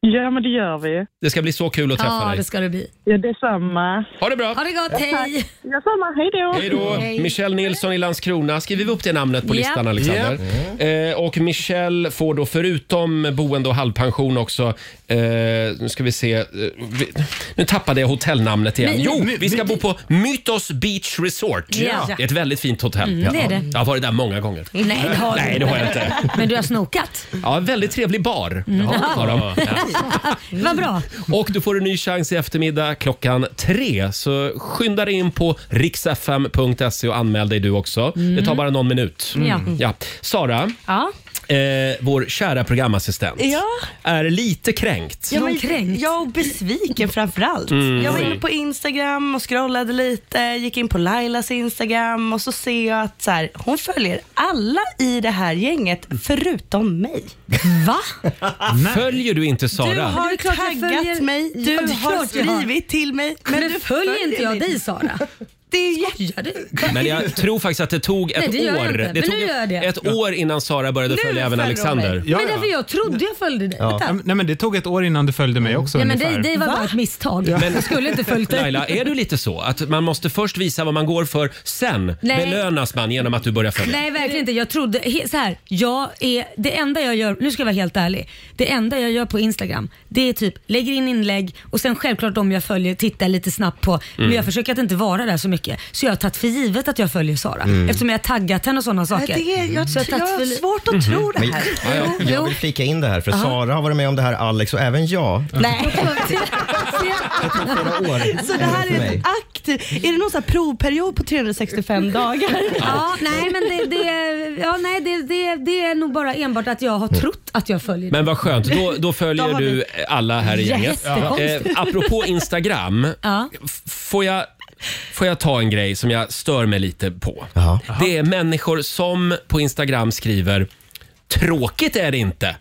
S11: Ja, men det gör vi.
S1: Det ska bli så kul att träffa dig.
S2: ska det bli.
S11: Ja, detsamma.
S1: Ha det bra!
S2: Ha det gott, hej!
S11: Detsamma, hej då!
S1: Hej då! Michelle Nilsson i Landskrona. Skriver vi upp det namnet på
S2: Ja.
S1: listan, Alexander? Eh, och Michelle får då förutom boende och halvpension också... Eh, nu ska vi se... Eh, vi, nu tappade jag hotellnamnet igen.
S2: Men-
S1: jo,
S2: men-
S1: vi ska bo på Mytos Beach Resort.
S2: Ja.
S1: Det är ett väldigt fint hotell.
S2: Mm, det är det.
S1: Jag har varit där många gånger.
S2: Nej, det har du
S1: Nej,
S2: inte.
S1: det har jag inte.
S2: Men du har snokat?
S1: Ja, en väldigt trevlig bar
S2: Mm.
S1: har de.
S2: Vad bra.
S1: Och du får en ny chans i eftermiddag klockan tre. Så skynda dig in på riksfm.se E och anmäl dig du också.
S2: Mm.
S1: Det tar bara någon minut.
S2: Mm. Ja.
S1: Sara,
S7: Ja.
S1: eh, vår kära programassistent,
S7: Ja.
S1: är lite kränkt.
S7: Jag var, kränkt. Ja, och besviken framförallt.
S1: Mm.
S7: Jag var inne på Instagram och scrollade lite, gick in på Lailas Instagram och så ser jag att så här, hon följer alla i det här gänget förutom mig.
S2: Va?
S1: Följer du inte Sara?
S7: Du har
S2: är klart jag
S7: taggat
S2: följer-
S7: mig,
S2: Ja,
S7: du
S2: det är
S7: har
S2: klart jag har.
S7: skrivit till mig.
S2: Men nu följer inte jag dig, Sara.
S7: Det är jätte...
S1: Men jag tror faktiskt att det tog ett
S2: Nej, det gör jag
S1: år.
S2: inte, men
S1: tog
S2: nu
S1: ett-
S2: gör jag det.
S1: ett år innan Sara började följa även Alexander.
S2: Men därför jag trodde jag följde dig.
S9: Ja.
S2: Vänta.
S9: Nej, men det tog ett år innan du följde mig också
S2: Nej, men
S9: ungefär.
S2: det, det var bara ett misstag.
S1: Men-
S2: Jag skulle inte följt dig.
S1: Laila, är du lite så? Att man måste först visa vad man går för, sen
S2: Nej.
S1: belönas man genom att du börjar följa?
S2: Nej, verkligen inte. Jag trodde he, så här, jag är, det enda jag gör, nu ska jag vara helt ärlig, det enda jag gör på Instagram det är typ lägger in inlägg och sen självklart de jag följer tittar lite snabbt på. Men
S12: Mm.
S2: jag försöker att inte vara där så mycket. Så jag har tagit för givet att jag följer Sara
S3: Mm.
S2: eftersom jag har taggat henne och sådana saker.
S7: det är- jag
S2: Så
S7: tr- jag har svårt
S2: att
S7: tro
S3: Mhm. Men, ja, jag, jag vill flika in det här, för
S2: Aha.
S3: Sara har varit med om det här, Alex och även jag.
S2: Nej.
S7: Så det här är ett aktivt... Är det någon sån här provperiod på 365 dagar?
S2: Ja, nej men det, det, ja, nej, det, det, det är nog bara enbart att jag har trott att jag följer
S1: Mm. Men vad skönt, då, då följer
S2: Då har
S1: du
S2: vi-
S1: alla här i gänget. Eh,
S2: Jättekonstigt.
S1: apropå Instagram,
S2: Ja.
S1: f- får jag, får jag ta en grej som jag stör mig lite på? Det är människor som på Instagram skriver “tråkigt är det inte”.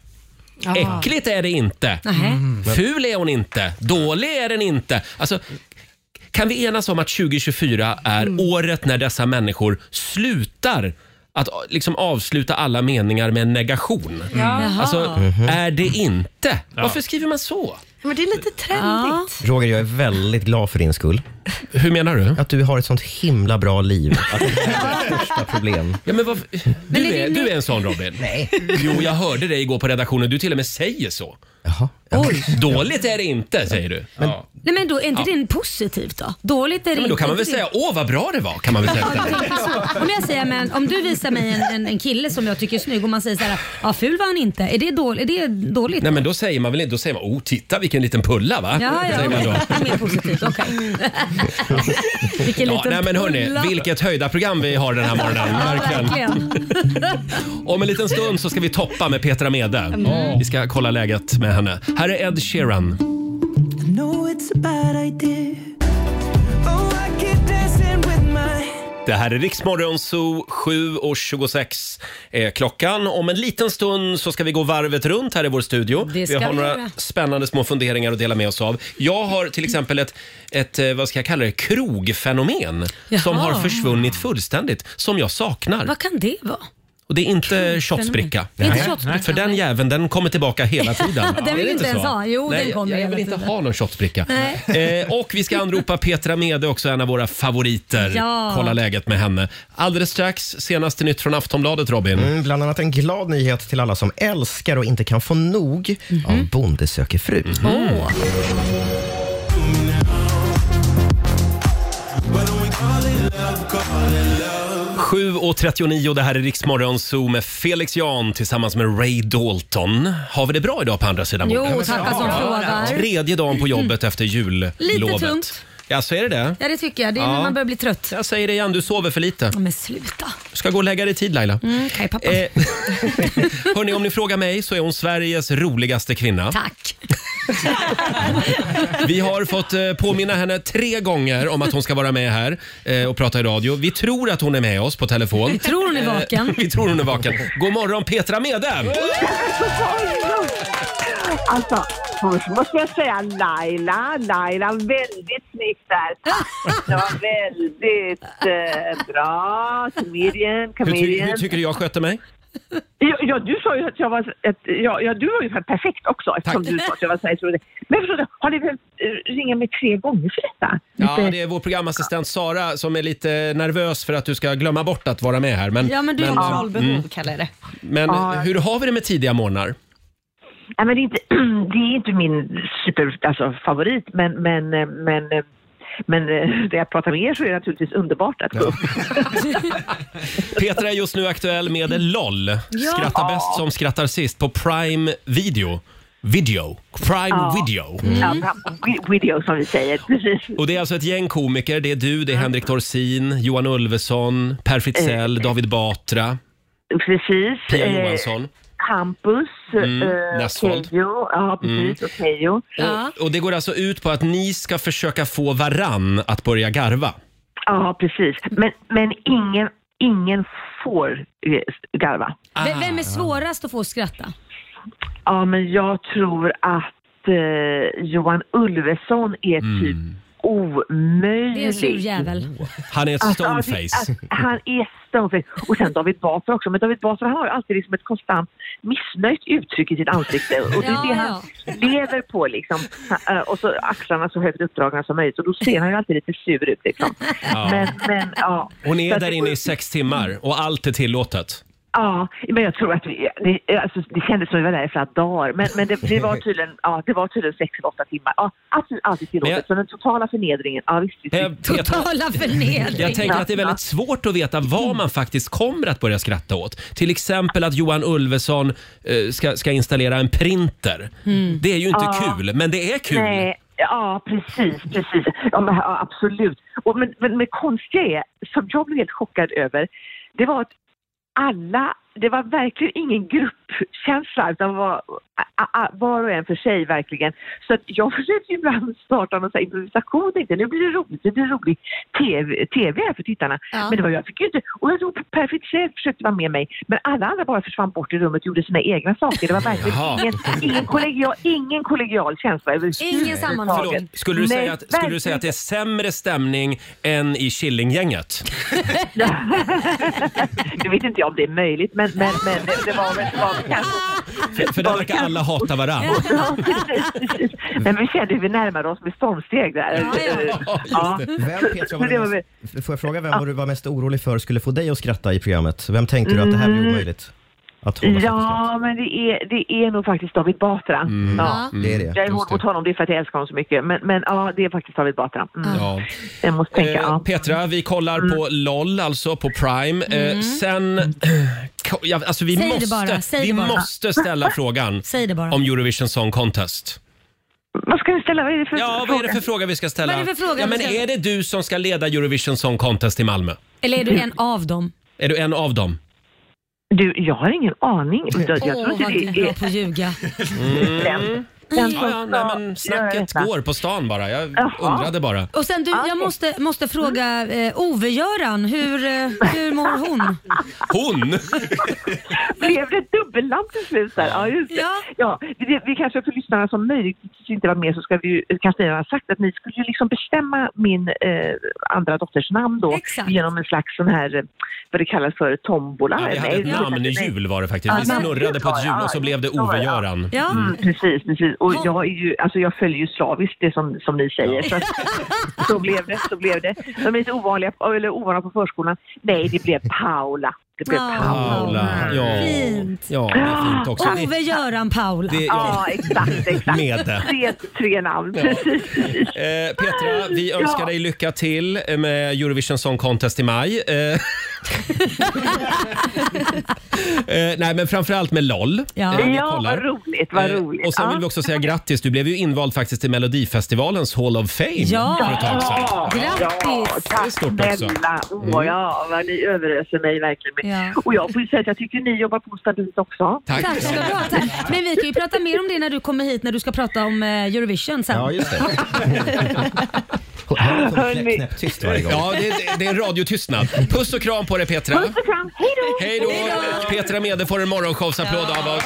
S2: Ja.
S1: Äckligt är det inte.
S2: Nähä. Mm.
S1: Ful är hon inte. Dålig är den inte. Alltså, kan vi enas om att 2024 är
S2: Mm.
S1: året när dessa människor slutar att a- liksom avsluta alla meningar med en negation?
S7: Ja. Jaha.
S2: Ah.
S1: Alltså, är det inte? Varför skriver man så?
S7: Men det är lite trendigt.
S3: Roger, jag är väldigt glad för din skull.
S1: Hur menar du?
S3: Att du har ett sånt himla bra liv. Att det här är ditt största problem.
S1: Ja, men vad, du, är, du är en sån Robin. Nej. Jo, jag hörde dig igår på redaktionen. Du till och med säger så. Dåligt är det inte, säger du. ja.
S2: Nej men då är inte
S1: Ja.
S2: det positivt då? Dåligt är det
S1: Ja, men då
S2: inte,
S1: kan man väl
S2: inte det-
S1: säga åh vad bra det var. Kan man väl säga.
S2: Ja, jag tänker så. Om jag säger, men om du visar mig en, en, en kille som jag tycker är snygg och man säger så här, ja ful var han inte. Är det, dål, är det dåligt?
S1: Nej men då säger man väl inte, då säger man oh titta vilken liten pulla va?
S2: Ja, ja.
S1: Säger man då.
S2: Mer positivt, okej. Vilken
S1: Ja,
S2: liten
S1: nej men hörni,
S2: pulla.
S1: vilket höjda program vi har den här morgonen. Verkligen.
S2: Verkligen.
S1: Om en liten stund så ska vi toppa med Petra Mede.
S2: Mm.
S1: Vi ska kolla läget med henne. Här är Ed Sheeran.
S10: I know it's a bad idea. Oh, I keep dancing with my
S1: Det här är Riksmorgon Zoo, 7.26 är klockan. Om en liten stund så ska vi gå varvet runt här i vår studio.
S2: Det ska
S1: vi har
S2: vi
S1: några
S2: göra.
S1: spännande små funderingar att dela med oss av. Jag har till exempel ett, ett eh, vad ska jag kalla det, krogfenomen som
S2: Jaha.
S1: har försvunnit fullständigt, som jag saknar.
S2: Vad kan det vara?
S1: Och det är inte shotsbricka.
S2: Det är inte shotsbricka,
S1: För den jäveln, den kommer tillbaka hela tiden.
S2: Den
S1: Är
S2: vill
S1: det
S2: vi inte ens
S1: så?
S2: ha. Jo,
S1: Nej,
S2: den kommer
S1: jag, jag
S2: hela
S1: vill inte
S2: tiden.
S1: ha någon shotsbricka.
S2: Nej.
S1: Eh, och vi ska anropa Petra Mede, också en av våra favoriter.
S2: Ja.
S1: Kolla läget med henne. Alldeles strax, senaste nytt från Aftonbladet, Robin.
S3: Mm, bland annat en glad nyhet till alla som älskar och inte kan få nog
S7: Mhm.
S3: av Bonde söker fru.
S1: Mm. 7.39, det här är Riksmorgon Zoo med Felix Jan tillsammans med Ray Dalton. Har vi det bra idag på andra sidan
S2: Jo,
S1: bordet?
S2: tackar som frågar.
S1: Tredje dagen på jobbet efter jullovet.
S2: Mm. Lite tungt.
S1: Ja, så är det det?
S2: Ja, det tycker jag. Det är när
S1: Ja.
S2: man börjar bli trött.
S1: Jag säger det igen, du sover för lite.
S2: Men sluta.
S1: Ska gå och lägga dig i tid Laila.
S2: Mm, Kaj pappa.
S1: Eh, hörni, om ni frågar mig så är hon Sveriges roligaste kvinna.
S2: Tack.
S1: Vi har fått eh, påminna henne tre gånger om att hon ska vara med här eh, och prata i radio. Vi tror att hon är med oss på telefon.
S2: Vi tror hon är
S1: Eh,
S2: vaken.
S1: Vi tror hon är vaken. God morgon Petra Mede!
S11: Alltså, först måste jag säga Laila, Laila, väldigt snyggt där. Tack. Det var väldigt eh, bra. Comedian,
S1: Hur, ty-
S11: comedian.
S1: hur tycker du jag sköter mig?
S11: Ja, ja, du sa ju att jag var... Ett, ja, ja, du var ju perfekt också eftersom du sa att jag var Sveriges roligaste. Men jag förstår, inte, har ni behövt eh, ringa mig tre gånger för detta?
S1: Ja, det är vår programassistent Sara som är lite nervös för att du ska glömma bort att vara med här. Men,
S11: Ja, men du är
S1: men,
S11: kontrollbehov,
S3: Mm.
S7: kallar jag det.
S1: Men
S11: Ja.
S1: hur har vi det med tidiga morgnar?
S11: Nej, men det, är inte, det är inte min super, alltså, favorit, men, men, eh, men, eh, men eh, när jag pratar med er så är det naturligtvis underbart att gå upp.
S1: Petra är just nu aktuell med LOL.
S11: Ja.
S1: Skratta bäst som skrattar sist på Prime Video. Video. Prime Video.
S11: Ja, vi- video som vi säger, precis.
S1: Och det är alltså ett gäng komiker. Det är du,
S11: Mm.
S1: det är Henrik Dorsin, Johan Ulveson, Per Fritzell, David Batra,
S11: Precis.
S1: Pia
S11: Eh,
S1: Johansson.
S11: Hampus,
S1: Mm,
S11: eh,
S1: Näsvold.
S11: Keyyo, ja precis, och Keyyo.
S1: Och, och det går alltså ut på att ni ska försöka få varann att börja garva.
S11: Ja, precis. Men, men ingen, ingen får eh, garva.
S2: V- Vem är svårast att få skratta?
S11: Ja, men jag tror att eh, Johan Ulveson är typ
S1: Mm.
S11: omöjlig.
S2: Det är en sur jävel.
S1: Han är ett
S11: Alltså,
S1: stoneface.
S11: alltså, han är stoneface. Och sen David Batra också. Men David Batra han har ju alltid liksom ett konstant missnöjt uttryck i sitt ansikte. Och det är det han lever på liksom. Han, eh, Och så axlarna så högt uppdragna som möjligt. Och då ser han ju alltid lite sur ut liksom.
S1: Ja.
S11: Men, men ja.
S1: Hon
S11: Så
S1: är
S11: att-
S1: där inne i sex timmar och allt är tillåtet.
S11: Ja, men jag tror att vi, det, alltså, det kändes som vi var där i flera dagar. Men, men det, det var tydligen, ja, det var tydligen sex eller åtta timmar. Ja, absolut alltid tillåtet.
S1: Men jag-
S11: Så den totala förnedringen, ja visst. visst.
S1: Eh, Petra-
S2: Totala förnedring.
S1: Jag tänker att det är väldigt svårt att veta
S2: Mm.
S1: vad man faktiskt kommer att börja skratta åt. Till exempel att Johan Ulveson eh, ska, ska installera en printer.
S11: Mm.
S1: Det är ju inte
S11: Ja.
S1: kul, men det är kul.
S11: Nej, ja, precis. precis. Ja, men, ja, absolut. Och, men, men det konstiga är, som jag blev helt chockad över, det var att alla, det var verkligen ingen gruppkänsla utan det var, a, a, var och en för sig verkligen. Så att jag försökte ju ibland starta någon sån här improvisation och tänkte nu blir det roligt, det blir rolig TV, TV här för tittarna.
S2: Ja.
S11: Men det var jag fick ju inte, och jag tror perfekt själv försökte vara med mig men alla andra bara försvann bort i rummet och gjorde sina egna saker. Det var verkligen
S1: Jaha.
S11: ingen, ingen, kollegial, ingen kollegial känsla över
S2: Ingen sammanhållning.
S1: Förlåt, skulle du,
S11: Nej,
S1: säga att, skulle du säga att det är sämre stämning än i Killinggänget?
S11: Nu vet inte jag om det är möjligt, men, men, men det, det var väl det var väl kanske...
S1: För, för där verkar alla hata varann.
S11: Ja, precis, precis. Nej, men vi kände hur vi närmade oss med stormsteg där. Eh,
S1: Ja,
S11: Ja.
S3: Vem, Petra, var
S11: Så det
S3: du
S11: var väl-
S3: mest, får jag fråga vem var du var mest orolig för skulle få dig att skratta i programmet? Vem tänkte du att det här blir
S11: Mm.
S3: omöjligt? Att hålla sig för skratt?
S11: Ja, men det är, det är nog faktiskt David Batra. Ja.
S3: Mm. Det är det.
S11: Jag är hård mot honom, det är för att jag älskar honom så mycket. Men, men ja, det är faktiskt David Batra. Mm.
S1: Ja.
S11: Jag måste tänka,
S1: Eh,
S11: ja.
S1: Petra, vi kollar
S2: Mm.
S1: på LOL, alltså på Prime. Eh, sen... Ko- Ja, alltså vi
S2: Säg det
S1: måste,
S2: bara, säg det
S1: vi
S2: bara.
S1: måste ställa frågan
S2: Säg det bara.
S1: om Eurovision Song Contest.
S11: Vad ska vi ställa? Vad är det för
S1: Ja, vad är det för fråga vi ska ställa?
S2: Vad är det för fråga
S1: ja,
S2: vi
S1: men
S2: ska-
S1: är det du som ska leda Eurovision Song Contest i Malmö?
S2: Eller är du en av dem?
S1: Är du en av dem?
S11: Du, jag har ingen aning. Jag, jag
S2: Åh,
S11: tror inte
S2: vad du
S11: det
S2: är bra
S11: är...
S2: på att ljuga.
S11: Den. Den
S1: Ja,
S11: som
S1: Mm. ja, nej,
S11: ska
S1: men
S11: göra
S1: snacket
S11: detta.
S1: går på stan bara. Jag
S11: Jaha.
S1: undrade bara.
S2: Och sen du, jag måste, måste fråga eh, Ove-Göran, hur, eh, hur mår hon?
S1: Hon!
S11: Blev det dubbelland till slut där? Ja, just det. Ja. vi, vi kanske för lyssnarna som möjligtvis inte var med så ska vi ju, kanske ni har sagt att ni skulle ju liksom bestämma min eh, andra dotters namn då
S1: Exakt.
S11: genom en slags sån här, eh, vad det kallas för, tombola.
S1: Ja, vi hade
S11: Nej,
S1: ett
S11: det kallas
S1: namn i
S11: inte.
S1: jul var det faktiskt.
S11: Ja,
S1: Vi
S11: namn-
S1: snurrade på ett hjul och så blev det Ove-Göran.
S11: Ja,
S1: Mm.
S11: precis, precis. Och jag, är ju, alltså jag följer ju slaviskt det som, som ni säger. Så, så blev det, så blev det. De är lite ovanliga, eller ovana på förskolan. Nej, det blev Paula. Det blev
S2: Ja.
S11: Paula.
S1: Paula. Ja.
S2: Fint.
S1: Ja, det är fint också.
S2: Ove-Göran Paula.
S1: Det- ja.
S11: Ja, exakt. exakt.
S1: Med det.
S11: Tre, tre namn.
S1: Ja. Eh, Petra, vi
S11: Ja.
S1: önskar dig lycka till med Eurovision Song Contest i maj. Eh, eh, nej, men framförallt med LOL.
S11: Ja.
S1: vi
S11: Ja,
S1: kollar.
S11: vad roligt, vad roligt.
S1: Eh, och sen
S11: Ja.
S1: vill vi också säga grattis. Du blev ju invald faktiskt till Melodifestivalens Hall of Fame för ett tag sedan.
S11: Grattis!
S1: är
S11: tack
S1: stort också.
S11: snälla. Åh,
S1: Mm.
S11: ja, vad ni överöser mig verkligen med.
S2: Ja.
S11: Och jag får ju säga att jag tycker ni jobbar på stabilt också.
S1: Tack.
S2: Tack ska du ha. Tack. Men vi kan ju prata mer om det när du kommer hit när du ska prata om eh, Eurovision sen.
S3: Ja, just det.
S11: Hörni.
S3: Knäpptyst varje gång.
S1: Ja, det, det, det är radiotystnad. Puss och kram på dig Petra.
S11: Puss och kram, hej då!
S1: Hej då! Petra Mede får en morgonshowsapplåd av oss.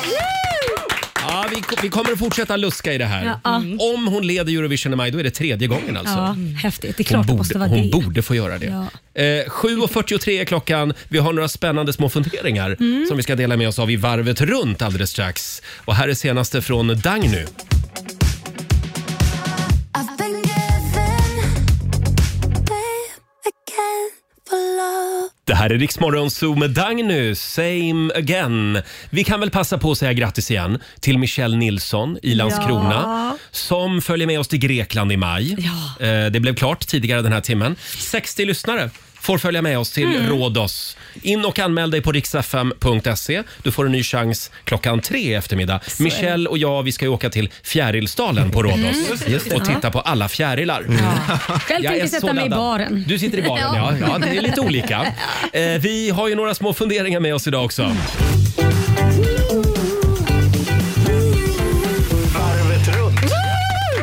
S1: Ja, vi, ko- vi kommer att fortsätta luska i det här.
S2: Ja.
S11: Mm.
S1: Om hon leder Eurovision i maj, då är det tredje gången alltså.
S2: Ja, häftigt. Det är
S1: Hon
S2: klart det måste
S1: borde,
S2: vara
S1: hon
S2: det.
S1: borde få göra det.
S2: Ja.
S1: Eh, 7.43 är klockan. Vi har några spännande små funderingar
S2: Mm.
S1: som vi ska dela med oss av i varvet runt alldeles strax. Och här är senaste från Dagny. Det här är Riksmorgon Zoo med Dagny, same again. Vi kan väl passa på att säga grattis igen till Michelle Nilsson i Landskrona
S2: Ja.
S1: som följer med oss till Grekland i maj. Eh, Det blev klart tidigare den här timmen. 60 lyssnare får följa med oss till
S12: Mm.
S1: Rhodos. In och anmäl dig på riksfm.se. Du får en ny chans klockan tre i eftermiddag.
S12: är
S1: Michelle och jag vi ska ju åka till Fjärilsdalen på Rhodos
S2: Mm. Just det.
S1: och titta på alla fjärilar.
S2: Själv
S1: Jag
S2: tänker
S1: är
S2: jag sätta
S1: så
S2: mig i
S1: laddad.
S2: baren.
S1: Du sitter i baren, ja. ja. det är lite olika. Eh, vi har ju några små funderingar med oss idag också.
S12: Varvet runt.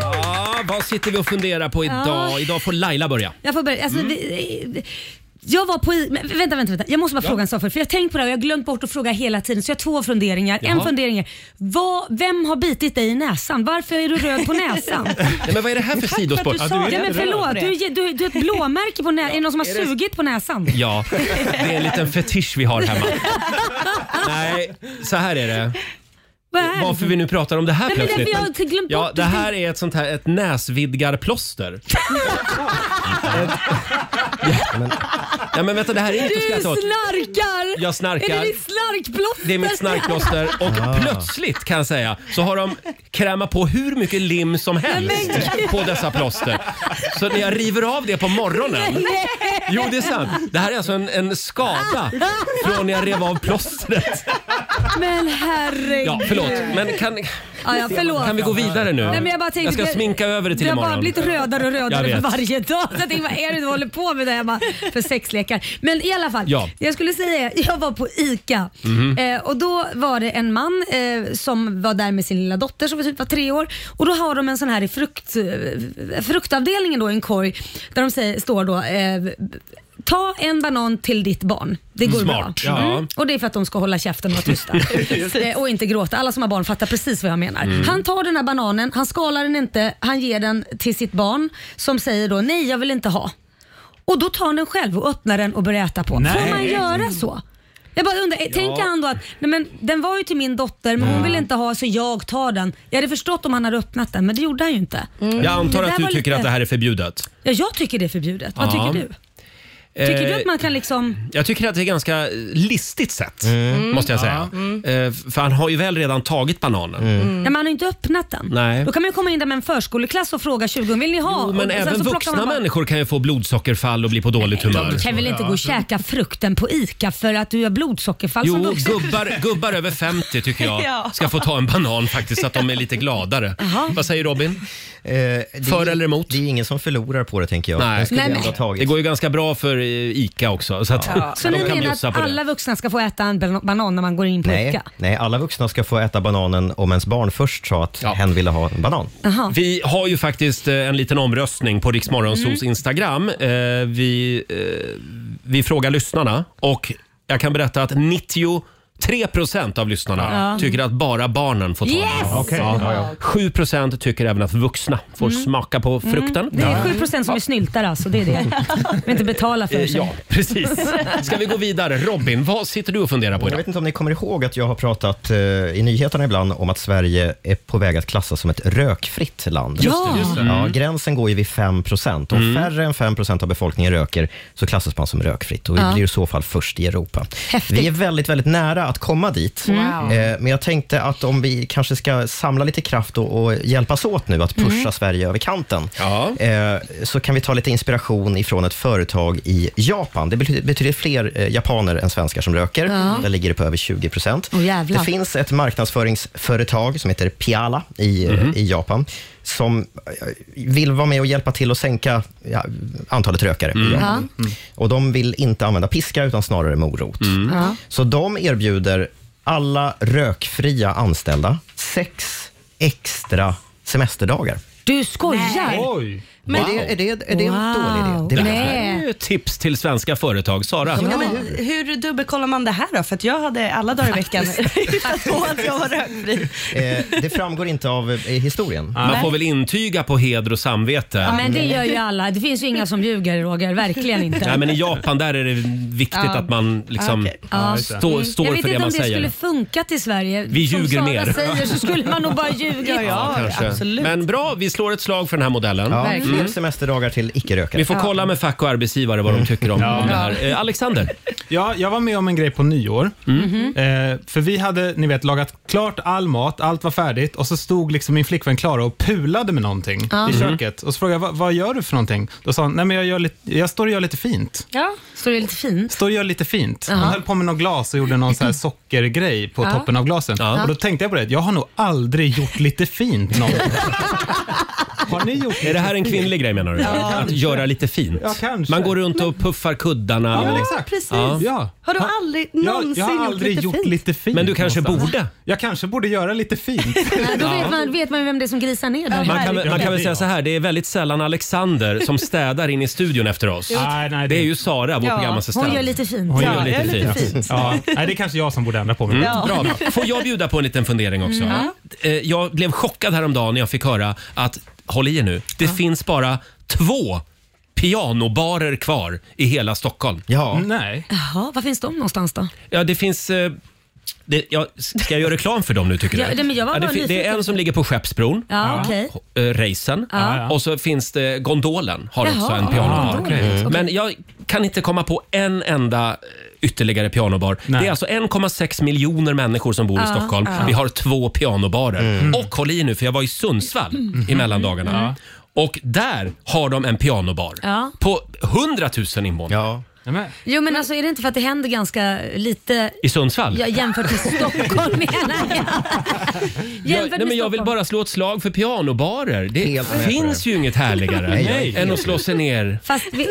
S1: Ja, vad sitter vi och funderar på idag?
S2: Ja.
S1: Idag får Laila börja.
S2: Jag får börja.
S1: Mm.
S2: Alltså, vi, jag var på... i- Men, vänta, vänta, vänta. Jag måste bara
S1: Ja.
S2: fråga en sak först. För jag har tänkt på det här och jag har glömt bort att fråga hela tiden. Så jag har två funderingar. En
S1: Jaha.
S2: fundering är, vad, vem har bitit dig i näsan? Varför är du röd på näsan?
S1: Nej, men vad är det här för sidospår?
S2: Ja, men förlåt, du, är- du, du har ett blåmärke på näsan. Är det någon som har
S1: Är det-
S2: sugit på näsan?
S1: Ja, det är en liten fetisch vi har hemma. Nej, så här är det.
S2: Vad är det?
S1: Varför vi nu pratar om det här
S2: Nej, men det-
S1: plötsligt.
S2: vi har inte glömt
S1: ja,
S2: bort
S1: det
S2: det.
S1: här är ett sånt här ett näsvidgarplåster. ja, men, ja, men vänta, det här är inte
S2: Du
S1: skratt åt.
S2: snarkar!
S1: Jag snarkar.
S2: Är det ditt snarkplåster?
S1: Det är mitt snarkplåster och plötsligt kan jag säga så har de krämat på hur mycket lim som helst
S2: Nej, men gud.
S1: på dessa plåster. Så när jag river av det på morgonen.
S2: Nej.
S1: Jo det är sant. Det här är alltså en, en skada från när jag rev av plåstret.
S2: Men herregud.
S1: Ja förlåt. Men kan,
S2: Ja, ja, förlåt.
S1: kan vi gå vidare nu?
S2: Nej, men jag, bara tänkte,
S1: ska sminka över det till
S2: du
S1: imorgon.
S2: Du har bara blivit rödare och
S1: Jag
S2: rödare
S1: vet.
S2: för varje dag. Så jag tänkte, vad är det du håller på med där hemma för sexlekar? Men i alla fall,
S1: Ja.
S2: det jag skulle säga är, jag var på ICA
S12: Mhm.
S2: eh, och då var det en man eh, som var där med sin lilla dotter som var typ var tre år och då har de en sån här i frukt, eh, fruktavdelningen då i en korg där de säger, står då eh, Ta en banan till ditt barn. Det går
S1: Smart.
S2: bra. Mm.
S1: Ja.
S2: Och det är för att de ska hålla käften och vara tysta. Eh, och inte gråta. Alla som har barn fattar precis vad jag menar.
S12: Mm.
S2: Han tar den här bananen, han skalar den inte, han ger den till sitt barn som säger då nej jag vill inte ha. Och då tar han den själv och öppnar den och börjar äta på.
S12: Nej.
S2: Får man göra så? Jag bara undrar, eh, tänker han då att nej men, den var ju till min dotter men hon vill inte ha så jag tar den. Jag hade förstått om han hade öppnat den men det gjorde han ju inte.
S1: Mm. Jag antar
S2: Det
S1: att
S2: där
S1: du
S2: var
S1: tycker
S2: lite-
S1: att det här är förbjudet.
S2: Ja, jag tycker det är förbjudet. Vad
S1: Ja.
S2: tycker du? Tycker du
S1: Eh,
S2: att man kan liksom...
S1: Jag tycker att det är ganska listigt sätt, måste jag säga.
S2: Mm.
S1: Eh, För han har ju väl redan tagit bananen.
S2: Nej, man har ju inte öppnat den.
S1: Nej.
S2: Då kan man ju komma in där med en förskoleklass och fråga 20 vill ni ha?
S1: Jo, men
S2: och sen
S1: även
S2: så plockar
S1: vuxna
S2: man bara-
S1: människor kan ju få blodsockerfall och bli på dåligt humör.
S2: Du kan väl inte gå och käka frukten på ICA för att du har blodsockerfall som
S1: Jo,
S2: vuxen?
S1: gubbar, gubbar över 50 tycker
S2: Ja.
S1: jag ska få ta en banan faktiskt så att de är lite gladare. Vad säger Robin?
S3: För eller emot? Det är ingen som förlorar på det, tänker jag.
S1: Nej.
S3: Den skulle
S1: Nej,
S3: jag ändå
S1: men-
S3: ha tagit.
S1: Det går ju ganska bra för eh, ICA också. Så, att
S2: Ja. Så
S1: de
S2: ni
S1: kan
S2: menar
S1: bjussa
S2: att
S1: på det.
S2: alla vuxna ska få äta en ban- banan när man går in på
S3: Nej,
S2: ICA?
S3: nej, alla vuxna ska få äta bananen om ens barn först sa att hen ville ha en banan.
S2: Jaha.
S1: Vi har ju faktiskt eh, en liten omröstning på Riksmorgonsols
S2: Mm.
S1: Instagram. Eh, Vi, eh, vi frågar lyssnarna och jag kan berätta att 93 procent av lyssnarna
S12: Ja.
S1: tycker att bara barnen får ta
S2: Yes!
S1: den.
S2: Okej,
S1: Ja.
S2: ja, ja.
S1: 7 procent tycker även att vuxna får
S2: Mm.
S1: smaka på frukten.
S2: Mm. Det är 7% som är snyltar alltså, det är det. Vi inte betala för
S1: Eh,
S2: sig.
S1: Ja, precis. Ska vi gå vidare? Robin, vad sitter du och funderar på
S3: Jag
S1: idag?
S3: vet inte om ni kommer ihåg att jag har pratat eh, i nyheterna ibland om att Sverige är på väg att klassas som ett rökfritt land.
S1: Just det, Mm. just det.
S3: Ja,
S1: Mm.
S3: gränsen går ju vid 5 procent. Om färre än 5 procent av befolkningen röker så klassas man som rökfritt och vi
S13: Ja.
S3: blir i så fall först i Europa.
S13: Häftigt.
S3: Vi är väldigt, väldigt nära att komma dit.
S13: Wow.
S3: Eh, men jag tänkte att om vi kanske ska samla lite kraft och, och hjälpas åt nu att pusha
S13: Mm.
S3: Sverige över kanten, eh, så kan vi ta lite inspiration ifrån ett företag i Japan. Det bety- betyder fler eh, japaner än svenskar som röker.
S2: Ja.
S3: Där ligger det på över 20 procent.
S2: Åh, jävlar.
S3: det finns ett marknadsföringsföretag som heter Piala i, eh, i Japan, som eh, vill vara med och hjälpa till att sänka ja, antalet rökare i
S13: Mm.
S3: Japan. Och de vill inte använda piska, utan snarare morot.
S13: Ja.
S3: Så de erbjuder alla rökfria anställda sex extra semesterdagar.
S2: Du skojar?
S3: Men Wow. det- är det- är det en dålig idé? Det är
S1: här är ju ett tips till svenska företag. Sara?
S7: Ja, men hur dubbelkollar man det här då? För att jag hade alla dagar i veckan hittat på att jag var rökfri.
S3: Eh, det framgår inte av eh, historien.
S1: Man får väl intyga på heder och samvete.
S2: Ja, men det gör ju alla. Det finns ju inga som ljuger Roger, verkligen inte.
S1: Nej, men I Japan där är det viktigt
S2: Ja.
S1: att man liksom
S2: Ja.
S1: stå,
S2: Mm.
S1: står
S2: Jag vet
S1: för det
S2: inte
S1: man
S2: om det
S1: säger.
S2: skulle funkat i Sverige.
S1: Vi
S2: Som
S1: ljuger
S2: Sara
S1: mer.
S2: säger så skulle man nog bara ljuga.
S1: kanske. Men bra, vi slår ett slag för den här modellen.
S3: Ja,
S2: Verkligen.
S3: fler semesterdagar till icke-rökare.
S1: Vi får kolla med fack och arbetsgivare vad de tycker om, om det här. Eh, Alexander?
S9: Ja, jag var med om en grej på nyår. Eh, för vi hade, ni vet, lagat klart all mat, allt var färdigt och så stod liksom min flickvän Klara och pulade med någonting
S2: Ja.
S9: i
S2: Mhm.
S9: köket. Och så frågade jag, "Vad- vad gör du för någonting? Då sa hon, nej men jag, gör lite, jag står och gör lite fint.
S2: Ja, står det lite fint?
S9: Står och gör lite fint. Hon
S2: Ja.
S9: höll på med något glas och gjorde någon så här sockergrej på
S2: Ja.
S9: toppen av glasen.
S2: Ja.
S9: Och då tänkte jag på det, jag har nog aldrig gjort lite fint någon gång. Har ni gjort
S1: Är det här en kvinnlig grej menar du?
S9: Ja.
S1: Att göra lite fint?
S9: Ja, kanske.
S1: Man går runt och puffar kuddarna.
S9: Ja, men
S1: och-
S9: exakt.
S7: Precis.
S1: Ja.
S7: Har du aldrig någonsin
S9: jag, jag har aldrig gjort lite, fint.
S1: Men du kanske
S9: borde? Jag kanske borde göra lite fint.
S2: Nej, Då vet man, vet man ju vem det är som grisar ner där.
S1: Man kan, man kan väl säga så här, det är väldigt sällan Alexander som städar in i studion efter oss.
S9: Nej, nej,
S1: det är ju Sara, vår
S2: Ja,
S1: programassistent.
S2: hon gör lite fint.
S1: Hon
S2: Ja,
S1: gör lite
S2: jag gör lite
S1: fint.
S2: fint.
S9: Ja. Nej, det är kanske jag som borde ändra på mig.
S1: Mm.
S9: Ja.
S1: Bra, bra. Får jag bjuda på en liten fundering också?
S9: Mm.
S1: Eh, Jag blev chockad häromdagen när jag fick höra att, håll i er nu, det finns bara två pianobarer kvar i hela Stockholm.
S3: Ja.
S9: Nej.
S2: Jaha, var finns de någonstans då?
S1: Ja, det finns... eh, Det, ja, ska jag göra reklam för dem nu tycker
S2: Ja,
S1: du?
S2: nej, men jag var
S1: det,
S2: bara
S1: fin- det är
S2: nyfiken.
S1: en som ligger på Skeppsbron,
S2: Ja, okej.
S1: eh, racen
S2: Ja.
S1: och så finns det Gondolen har
S2: Jaha,
S1: också en
S2: ja,
S1: pianobar.
S2: Gondolen, okej.
S1: Mm. Men jag kan inte komma på en enda eh, ytterligare pianobar. Det är alltså 1,6 miljoner människor som bor i
S12: Ja,
S1: Stockholm.
S12: ja.
S1: Vi har två
S3: Mm.
S1: pianobarer. Och håll i nu för jag var i Sundsvall
S12: Mm.
S1: i mellandagarna.
S12: Mm.
S1: Och där har de en pianobar
S2: Ja.
S1: på 100 000 invånare.
S2: Jo men alltså är det inte för att det händer ganska lite
S1: I Sundsvall?
S2: ja, jämfört med Stockholm menar jag.
S1: Jag,
S2: Jämfört
S1: nej, men
S2: med
S1: jag vill bara slå ett slag för pianobarer. Det
S3: med på
S1: finns ju inget härligare
S3: Nej, jag är helt
S1: än att slå sig ner.
S2: Fast vi,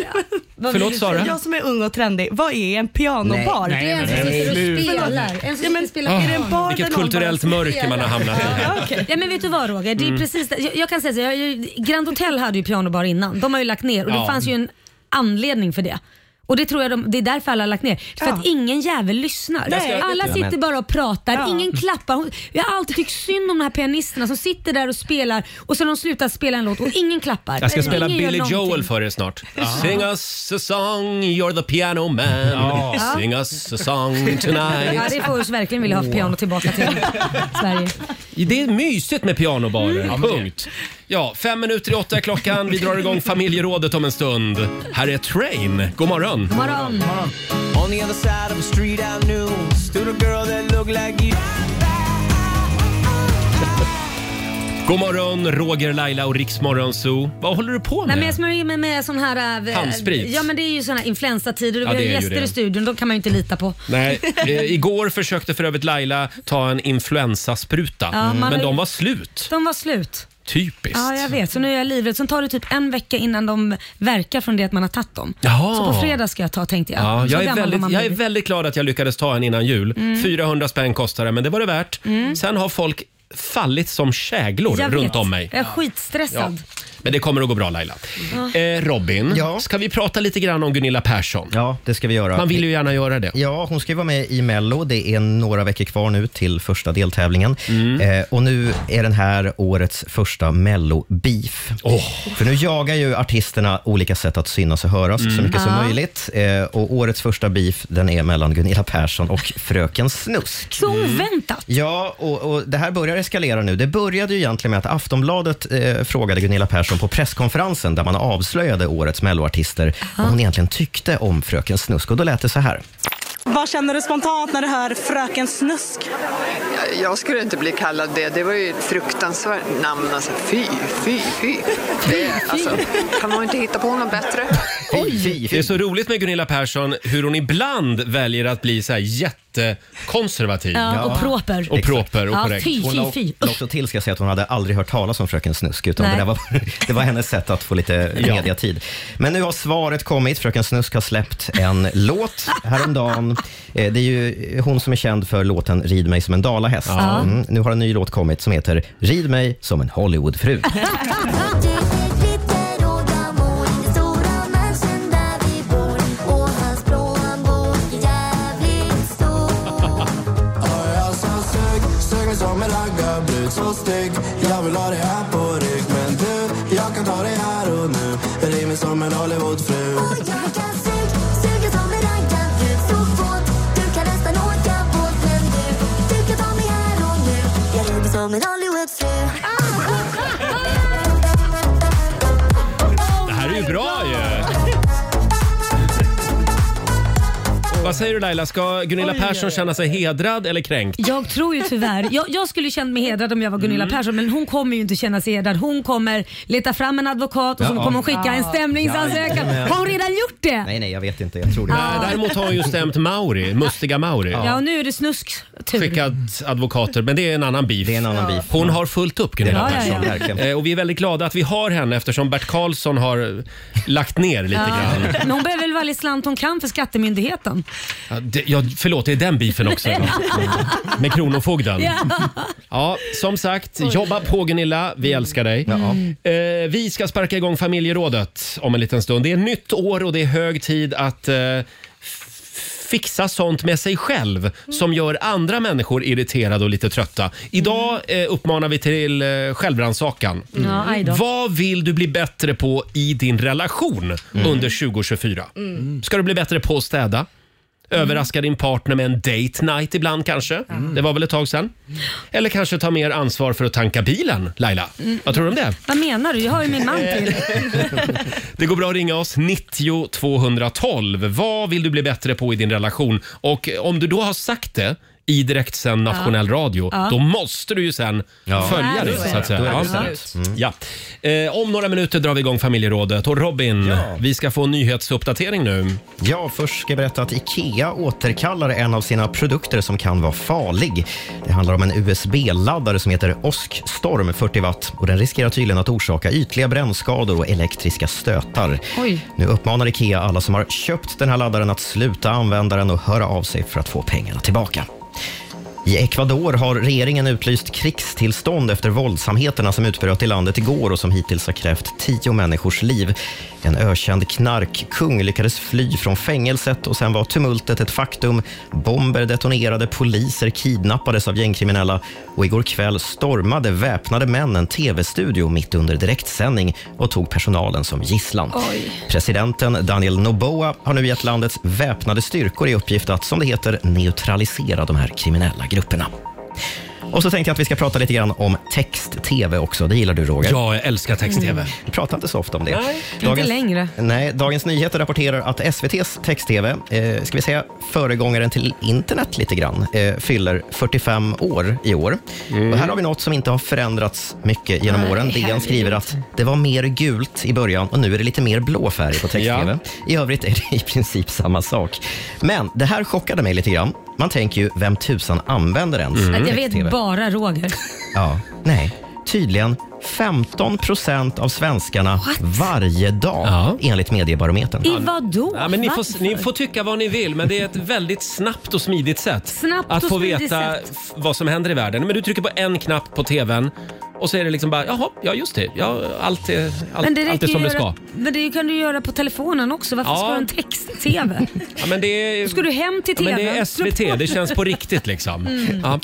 S2: vad
S1: Förlåt,
S2: vill-
S1: Sara?
S7: Jag som är ung och trendig, vad är en pianobar?
S1: Nej, Det är en som nej, sitter och nej. spelar.
S2: Förlåt. En som
S7: Ja, men,
S2: spelar
S1: Ah,
S2: piano. Är det en bar
S1: vilket
S2: där någon
S1: kulturellt
S2: bara
S1: mörker man har hamnat i.
S2: Ja, okej. ja, men vet du vad Roger? Det är
S1: Mm.
S2: precis det. Jag, jag kan säga så, här, jag, Grand Hotel hade ju pianobar innan. De har ju lagt ner och
S1: Ja.
S2: det fanns ju en anledning för det. Och det tror jag de, det är därför alla har lagt ner. För att ingen jävel lyssnar.
S1: Jag ska-
S2: Alla
S1: Ja, men-
S2: sitter bara och pratar, ingen klappar. Hon- Jag har alltid tyckt synd om de här pianisterna som sitter där och spelar och sen har de slutat spela en låt och ingen klappar.
S1: Jag ska spela
S2: Ingen gör
S1: Billy
S2: någonting.
S1: Joel för er snart. Sing us a song, you're the piano man.
S2: Ja.
S1: Sing us a song
S2: Ja,
S1: tonight.
S2: det får oss verkligen vilja ha piano tillbaka till Sverige.
S1: Det är mysigt med
S2: Mm.
S1: pianobarer, punkt. Ja, fem minuter i åtta är klockan. Vi drar igång familjerådet om en stund. Här är Train. God morgon.
S2: God morgon.
S12: On the other side of the street I knew stood a girl that looked like you.
S1: God morgon, Roger, Laila och Riksmorgon Zoo. Vad håller du på
S2: Nej, men
S1: med?
S2: jag smörjer mig med sån här... eh,
S1: Handsprit.
S2: Ja men det är ju såna här influensatider och
S1: Ja,
S2: vi
S1: det är
S2: har
S1: ju
S2: gäster
S1: det.
S2: i studion. De kan man ju inte lita på.
S1: Nej, eh, igår försökte för övrigt Laila ta en influensaspruta,
S2: Ja, man
S1: men
S2: har-
S1: de var slut.
S2: De var slut.
S1: Typiskt.
S2: Ja, jag vet. Så nu är jag livrädd. Sen tar det typ en vecka innan de verkar från det att man har tagit dem.
S1: Jaha.
S2: Så på fredag ska jag ta tänkte jag.
S1: Ja,
S2: Så
S1: jag, är
S2: gammal har man
S1: väldigt, jag är
S2: blivit.
S1: väldigt glad att jag lyckades ta en innan jul.
S2: Mm.
S1: 400 spänn kostade men det var det värt.
S2: Mm.
S1: Sen har folk fallit som käglor
S2: Jag
S1: runt
S2: vet.
S1: om mig.
S2: Jag är Ah. skitstressad.
S1: Men det kommer att gå bra Laila.
S2: Ja.
S1: Eh, Robin, ska vi prata lite grann om Gunilla Persson?
S3: Ja, det ska vi göra.
S1: Man vill ju gärna göra det.
S3: Ja, hon ska ju vara med i Mello. Det är några veckor kvar nu till första deltävlingen.
S1: Mm.
S3: Eh, och nu är den här årets första Mello-beef. För nu jagar ju artisterna olika sätt att synas och höras så
S13: Mm.
S3: mycket som
S13: Ja.
S3: möjligt. Eh, och årets första beef, den är mellan Gunilla Persson och Fröken Snusk.
S2: Så oväntat.
S3: Ja, och, och det här börjar eskalera nu. Det började ju egentligen med att Aftonbladet eh, frågade Gunilla Persson på presskonferensen där man avslöjade årets melloartister vad hon egentligen tyckte om Fröken Snusk. Och då lät det så här.
S14: Vad känner du spontant när du hör Fröken Snusk?
S15: Jag skulle inte bli kallad det. Det var ju ett fruktansvärt namn. Alltså, fy, fy, fy. Det, alltså, kan man inte hitta på något bättre?
S1: Det är så roligt med Gunilla Persson hur hon ibland väljer att bli så här jättekonservativ.
S2: Ja, och proper.
S1: Och proper och
S2: Ja,
S1: korrekt.
S2: fy, fy, fy.
S3: Hon la också till ska jag säga att hon hade aldrig hört talas om Fröken Snusk, utan
S2: Nej.
S3: det, där var, det var hennes sätt att få lite
S2: Ja.
S3: mediatid. Men nu har svaret kommit. Fröken Snusk har släppt en låt häromdagen. Eh, Det är ju hon som är känd för låten Rid mig som en dalahäst.
S13: Ja.
S3: Mm. Nu har en ny låt kommit som heter Rid mig som en Hollywoodfru.
S5: Jag vill ha det här på rygg Men du, jag kan ta det här och nu Rid mig som en Hollywoodfru
S1: Det här är ju bra ju! Vad säger du Laila, ska Gunilla
S2: Oj,
S1: Persson känna sig hedrad eller kränkt?
S2: Jag tror ju tyvärr, jag, jag skulle ju känt mig hedrad om jag var Gunilla
S1: Mm.
S2: Persson men hon kommer ju inte känna sig hedrad. Hon kommer leta fram en advokat och så
S3: Ja.
S2: kommer hon skicka en
S3: Ja.
S2: stämningsansökan.
S3: Jajamän.
S2: Har hon redan gjort det?
S3: Nej, nej, jag vet inte. Jag tror det.
S1: Nej, Eh, däremot har hon ju stämt Mauri, mustiga Mauri.
S2: Ja, och nu är det snusk Typ. tur.
S1: skickat advokater, men det är en annan beef. Hon har fullt upp Gunilla
S2: Ja, ja, ja.
S1: Persson.
S2: Verkligen.
S1: Eh, Och vi är väldigt glada att vi har henne eftersom Bert Karlsson har lagt ner lite grann.
S2: Men hon behöver väl varje slant hon kan för skattemyndigheten.
S1: Ja, det- Ja, förlåt, det är den beefen också. ja. Med Kronofogden.
S2: Ja.
S1: Ja, som sagt, jobba på Gunilla. Vi
S2: Mm.
S1: älskar dig. Eh, vi ska sparka igång familjerådet om en liten stund. Det är nytt år och det är hög tid att eh, f- fixa sånt med sig själv
S2: Mm.
S1: som gör andra människor irriterade och lite trötta. Idag eh, uppmanar vi till eh, självrannsakan.
S2: Mm. Ja, aj då.
S1: Vad vill du bli bättre på i din relation under 2024?
S2: Mm.
S1: Ska du bli bättre på att städa? Överraska din partner med en date night ibland kanske.
S2: Mm.
S1: Det var väl ett tag sedan. Eller kanske ta mer ansvar för att tanka bilen, Laila.
S2: Mm.
S1: Vad tror du om det?
S2: Vad menar du? Jag har ju min man till.
S1: Mm. Det går bra att ringa oss, 90 212. Vad vill du bli bättre på i din relation? Och om du då har sagt det i direktsänd nationell radio,
S13: Ja.
S1: då måste du ju sen följa
S13: Ja,
S1: det.
S13: då är
S1: Så att
S13: det.
S1: säga.
S13: Då är det
S1: Ja.
S13: bestämt.
S1: Mm. Ja. Eh, om några minuter drar vi igång familjerådet. Och Robin,
S3: Ja.
S1: vi ska få en nyhetsuppdatering nu.
S3: Ja, först ska jag berätta att IKEA återkallar en av sina produkter som kan vara farlig. Det handlar om en USB-laddare som heter Oskstorm 40 watt och den riskerar tydligen att orsaka ytliga brännskador och elektriska stötar.
S2: Oj.
S3: Nu uppmanar IKEA alla som har köpt den här laddaren att sluta använda den och höra av sig för att få pengarna tillbaka. I Ecuador har regeringen utlyst krigstillstånd efter våldsamheterna som utbröt i landet igår och som hittills har krävt tio människors liv. En ökänd knarkkung lyckades fly från fängelset och sen var tumultet ett faktum. Bomber detonerade, poliser kidnappades av gängkriminella och igår kväll stormade väpnade män en tv-studio mitt under direktsändning och tog personalen som gisslan. Presidenten Daniel Noboa har nu gett landets väpnade styrkor i uppgift att, som det heter, neutralisera de här kriminella grupperna. Och så tänkte jag att vi ska prata lite grann om text-tv också. Det gillar du Roger?
S1: Ja, jag älskar text-tv.
S3: Mm. Vi pratar inte så ofta om det.
S2: Nej. Inte längre.
S3: Nej, Dagens Nyheter rapporterar att SVTs text-tv, eh, ska vi säga föregångaren till internet lite grann, eh, fyller 45 år i år. Och här har vi något som inte har förändrats mycket
S13: Mm.
S3: genom
S13: Nej,
S3: åren. DN
S13: herregud.
S3: skriver att det var mer gult i början och nu är det lite mer blå färg på text-tv. I övrigt är det i princip samma sak. Men det här chockade mig lite grann. Man tänker ju, vem tusan använder ens
S1: Mm.
S2: Att Mm. Jag
S3: text-tv?
S2: vet bara Roger.
S3: Ja, nej. Tydligen 15 procent av svenskarna varje dag, enligt Mediebarometern.
S2: I vad då?
S1: Ja, men ni,
S2: Varför?
S1: får, ni får tycka vad ni vill, men det är ett väldigt snabbt och smidigt sätt
S2: Snabbt
S1: att
S2: och
S1: få
S2: smidigt
S1: veta
S2: sätt.
S1: f- vad som händer i världen. Men du trycker på en knapp på tvn och så är det liksom bara, jaha, ja just det, ja, allt, är, allt,
S2: men det
S1: allt är
S2: räcker
S1: som
S2: ju
S1: det
S2: göra,
S1: ska.
S2: Men det kan du göra på telefonen också. Varför
S1: Ja.
S2: ska du ha en text-tv?
S1: Ja, men det är,
S2: Då ska du hem till
S1: ja, men det är
S2: TV:n. Slå på.
S1: SVT, det känns på riktigt liksom.
S2: Mm.
S1: Ja.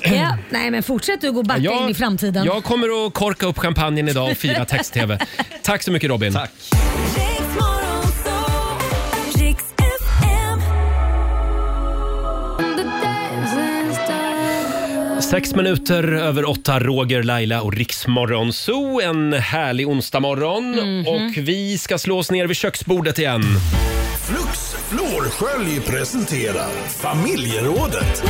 S2: ja, nej men fortsätt du gå och backa
S1: Jag-
S2: in i framtiden.
S1: Jag kommer att korka upp champagnen idag och fira text-tv. Tack så mycket Robin. Tack. Sex minuter över åtta, Roger, Laila och Riksmorgon Zoo. En härlig onsdagmorgon och vi ska slå oss ner vid köksbordet igen.
S16: Flux Florskölj presenterar Familjerådet.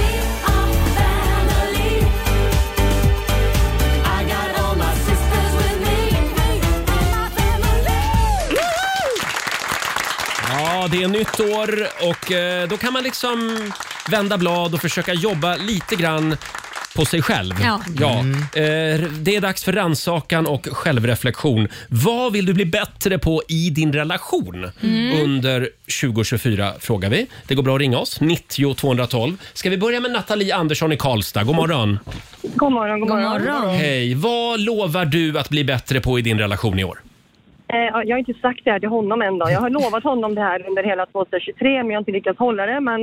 S1: Ja, det är nytt år och eh, då kan man liksom vända blad och försöka jobba lite grann på sig själv.
S2: Ja.
S1: Eh, Det är dags för rannsakan och självreflektion. Vad vill du bli bättre på i din relation
S17: Mm.
S1: under 2024? frågar vi. Det går bra att ringa oss. 90 212. Ska vi börja med Nathalie Andersson i Karlstad? God morgon.
S11: God morgon, god morgon.
S1: Hej. Vad lovar du att bli bättre på i din relation i år?
S11: Eh, ja, jag har inte sagt det här till honom än då. Jag har lovat honom det här under hela 2023 men jag har inte lyckats hålla det. Men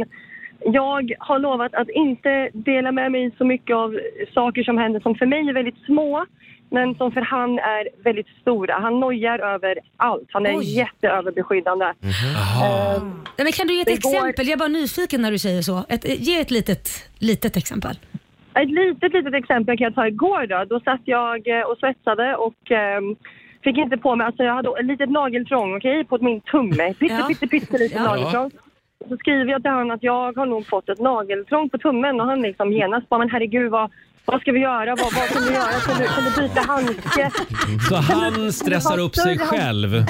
S11: jag har lovat att inte dela med mig så mycket av saker som händer som för mig är väldigt små men som för han är väldigt stora. Han nojar över allt. Han är
S2: Oj.
S11: jätteöverbeskyddande. Eh,
S2: Nej, men kan du ge ett
S11: Det går-
S2: exempel? Jag är bara nyfiken när du säger så. Ett, ge ett litet, litet exempel.
S11: Ett litet, litet exempel kan jag ta igår då. Då satt jag eh, och svetsade och ehm, fick inte på mig, alltså jag hade ett litet nageltrång, okej, på min tumme. Pytte,
S2: Ja.
S11: pytte, pytte lite
S2: Ja.
S11: nageltrång. Så skriver jag till honom att jag har nog fått ett nageltrång på tummen och han liksom genast bara, men herregud vad, vad ska vi göra? Vad, vad kan vi göra? Kan du, kan du byta handske?
S1: Så
S11: Kan du-
S1: han stressar upp sig
S11: större hand-
S1: själv.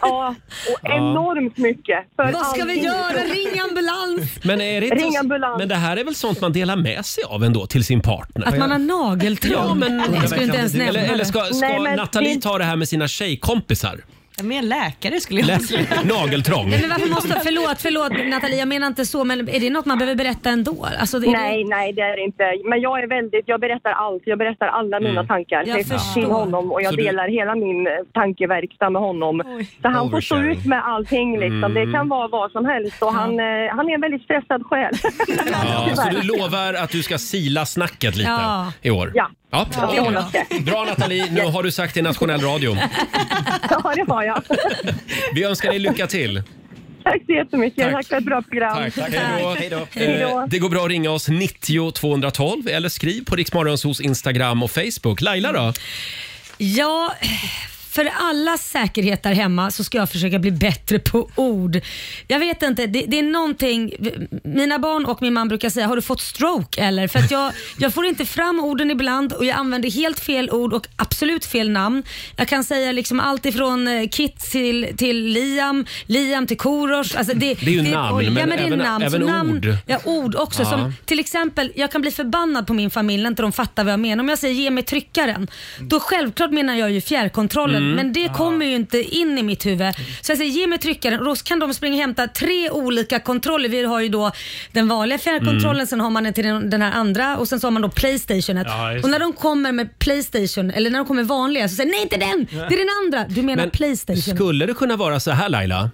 S11: Ja, och
S1: Ja.
S11: enormt mycket. för
S2: Vad ska vi
S11: allting.
S2: göra? Ring ambulans!
S1: Men, är det
S11: Ring
S1: inte,
S11: ambulans.
S1: men det här är väl sånt man delar med sig av ändå till sin partner?
S2: Att man har nageltrång?
S1: Ja, men,
S2: Nej, jag skulle inte ens nämna
S1: eller, eller ska,
S2: det.
S1: ska Nathalie ta det här med sina tjejkompisar?
S7: Jag är mer läkare skulle jag
S1: Läs,
S7: säga.
S1: nageltrång.
S2: Nej, men varför måste, förlåt, förlåt Nathalie, jag menar inte så, men är det något man behöver berätta ändå? Alltså, det är
S11: Nej, nej det är det inte. Men jag är väldigt, jag berättar allt. Jag berättar alla
S1: Mm.
S11: mina tankar
S2: Jag
S11: till-
S2: förstår.
S11: till honom och jag
S2: Så du-
S11: delar hela min eh, tankeverkstad med honom. Så han får stå
S1: Oversharing.
S11: ut med allting liksom.
S1: Mm.
S11: Det kan vara vad som helst och han, eh, han är en väldigt stressad själ.
S1: Ja, så
S11: Tyvärr.
S1: du lovar att du ska sila snacket lite
S11: Ja.
S1: i år?
S11: Ja.
S1: ja.
S11: Ja, det håller jag.
S1: Bra Nathalie, nu har du sagt det i nationell radio.
S11: ja, det har jag.
S1: Vi önskar dig lycka till.
S11: Tack så jättemycket. Tack, för ett bra program.
S1: Tack. Hej då.
S11: Hej då.
S1: Eh, Det går bra att ringa oss 90 212 eller skriv på Riksmorgonsos Instagram och Facebook. Laila då?
S2: Ja, för alla säkerhet där hemma så ska jag försöka bli bättre på ord. Jag vet inte, det, det är någonting, mina barn och min man brukar säga, har du fått stroke eller? För att jag, jag får inte fram orden ibland och jag använder helt fel ord och absolut fel namn. Jag kan säga liksom allt ifrån eh, Kit till, till Liam, Liam till Korosh. Alltså det,
S1: Det är ju namn,
S2: oj, ja,
S1: men
S2: men det är
S1: även-
S2: namn,
S1: även
S2: så namn,
S1: ord.
S2: Ja, ord också.
S1: Ja.
S2: Som, till exempel, jag kan bli förbannad på min familj när inte de fattar vad jag menar. Om jag säger ge mig tryckaren, då självklart menar jag ju fjärrkontrollen.
S18: Mm.
S2: Men det kommer ju inte in i mitt huvud. Så jag säger ge mig tryckaren och då kan de springa och hämta tre olika kontroller. Vi har ju då den vanliga fjärrkontrollen,
S18: Mm.
S2: sen har man den till den den här andra och sen så har man då Playstationet.
S1: Ja, just
S2: och när de kommer med Playstation, eller när de kommer med vanliga, så säger jag, nej inte den, det är den andra. Du menar
S1: Men
S2: Playstation.
S1: Skulle det kunna vara så här Laila?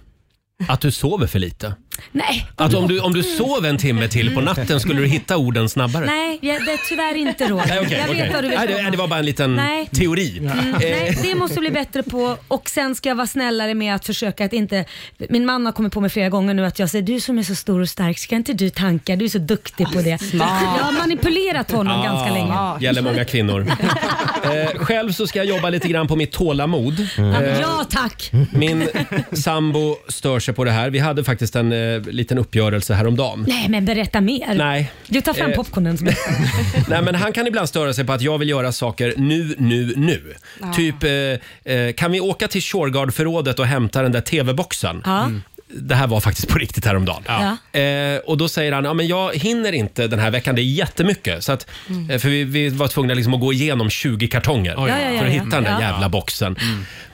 S1: Att du sover för lite?
S2: Nej.
S1: Att om du, om du sov en timme till på natten skulle du hitta orden snabbare?
S2: Nej, jag, det är tyvärr inte Roger.
S1: Nej, okej,
S2: jag vet
S1: okej.
S2: vad du vill
S1: Nej, det,
S2: komma.
S1: nej, det var bara en liten
S2: Nej.
S1: teori.
S2: Mm,
S1: Eh,
S2: nej, det måste jag bli bättre på och sen ska jag vara snällare med att försöka att inte... Min man har kommit på mig flera gånger nu att jag säger du som är så stor och stark, ska inte du tanka? Du är så duktig på det.
S1: Smart.
S2: Jag har manipulerat honom
S1: ah,
S2: ganska länge.
S1: Gäller många kvinnor. eh, själv så ska jag jobba lite grann på mitt tålamod.
S2: Ja, men
S1: Eh,
S2: Ja tack!
S1: Min sambo stör sig på det här. Vi hade faktiskt en eh, liten uppgörelse häromdagen.
S2: Nej men berätta mer.
S1: Nej.
S2: Du tar fram
S1: Eh,
S2: popcornen. som-
S1: Nej, men han kan ibland störa sig på att jag vill göra saker nu, nu, nu.
S2: Ah.
S1: Typ, eh, eh, kan vi åka till Shurgard-förrådet och hämta den där TV-boxen?
S2: Ja.
S1: det här var faktiskt på riktigt häromdagen. Eh, och då säger han, ja men jag hinner inte den här veckan, det är jättemycket. Så att, eh, För vi, vi var tvungna liksom att gå igenom 20 kartonger
S2: Mm. Oj, ja, ja, ja,
S1: för att
S2: ja.
S1: hitta den där
S2: Ja. Mm.
S1: jävla boxen.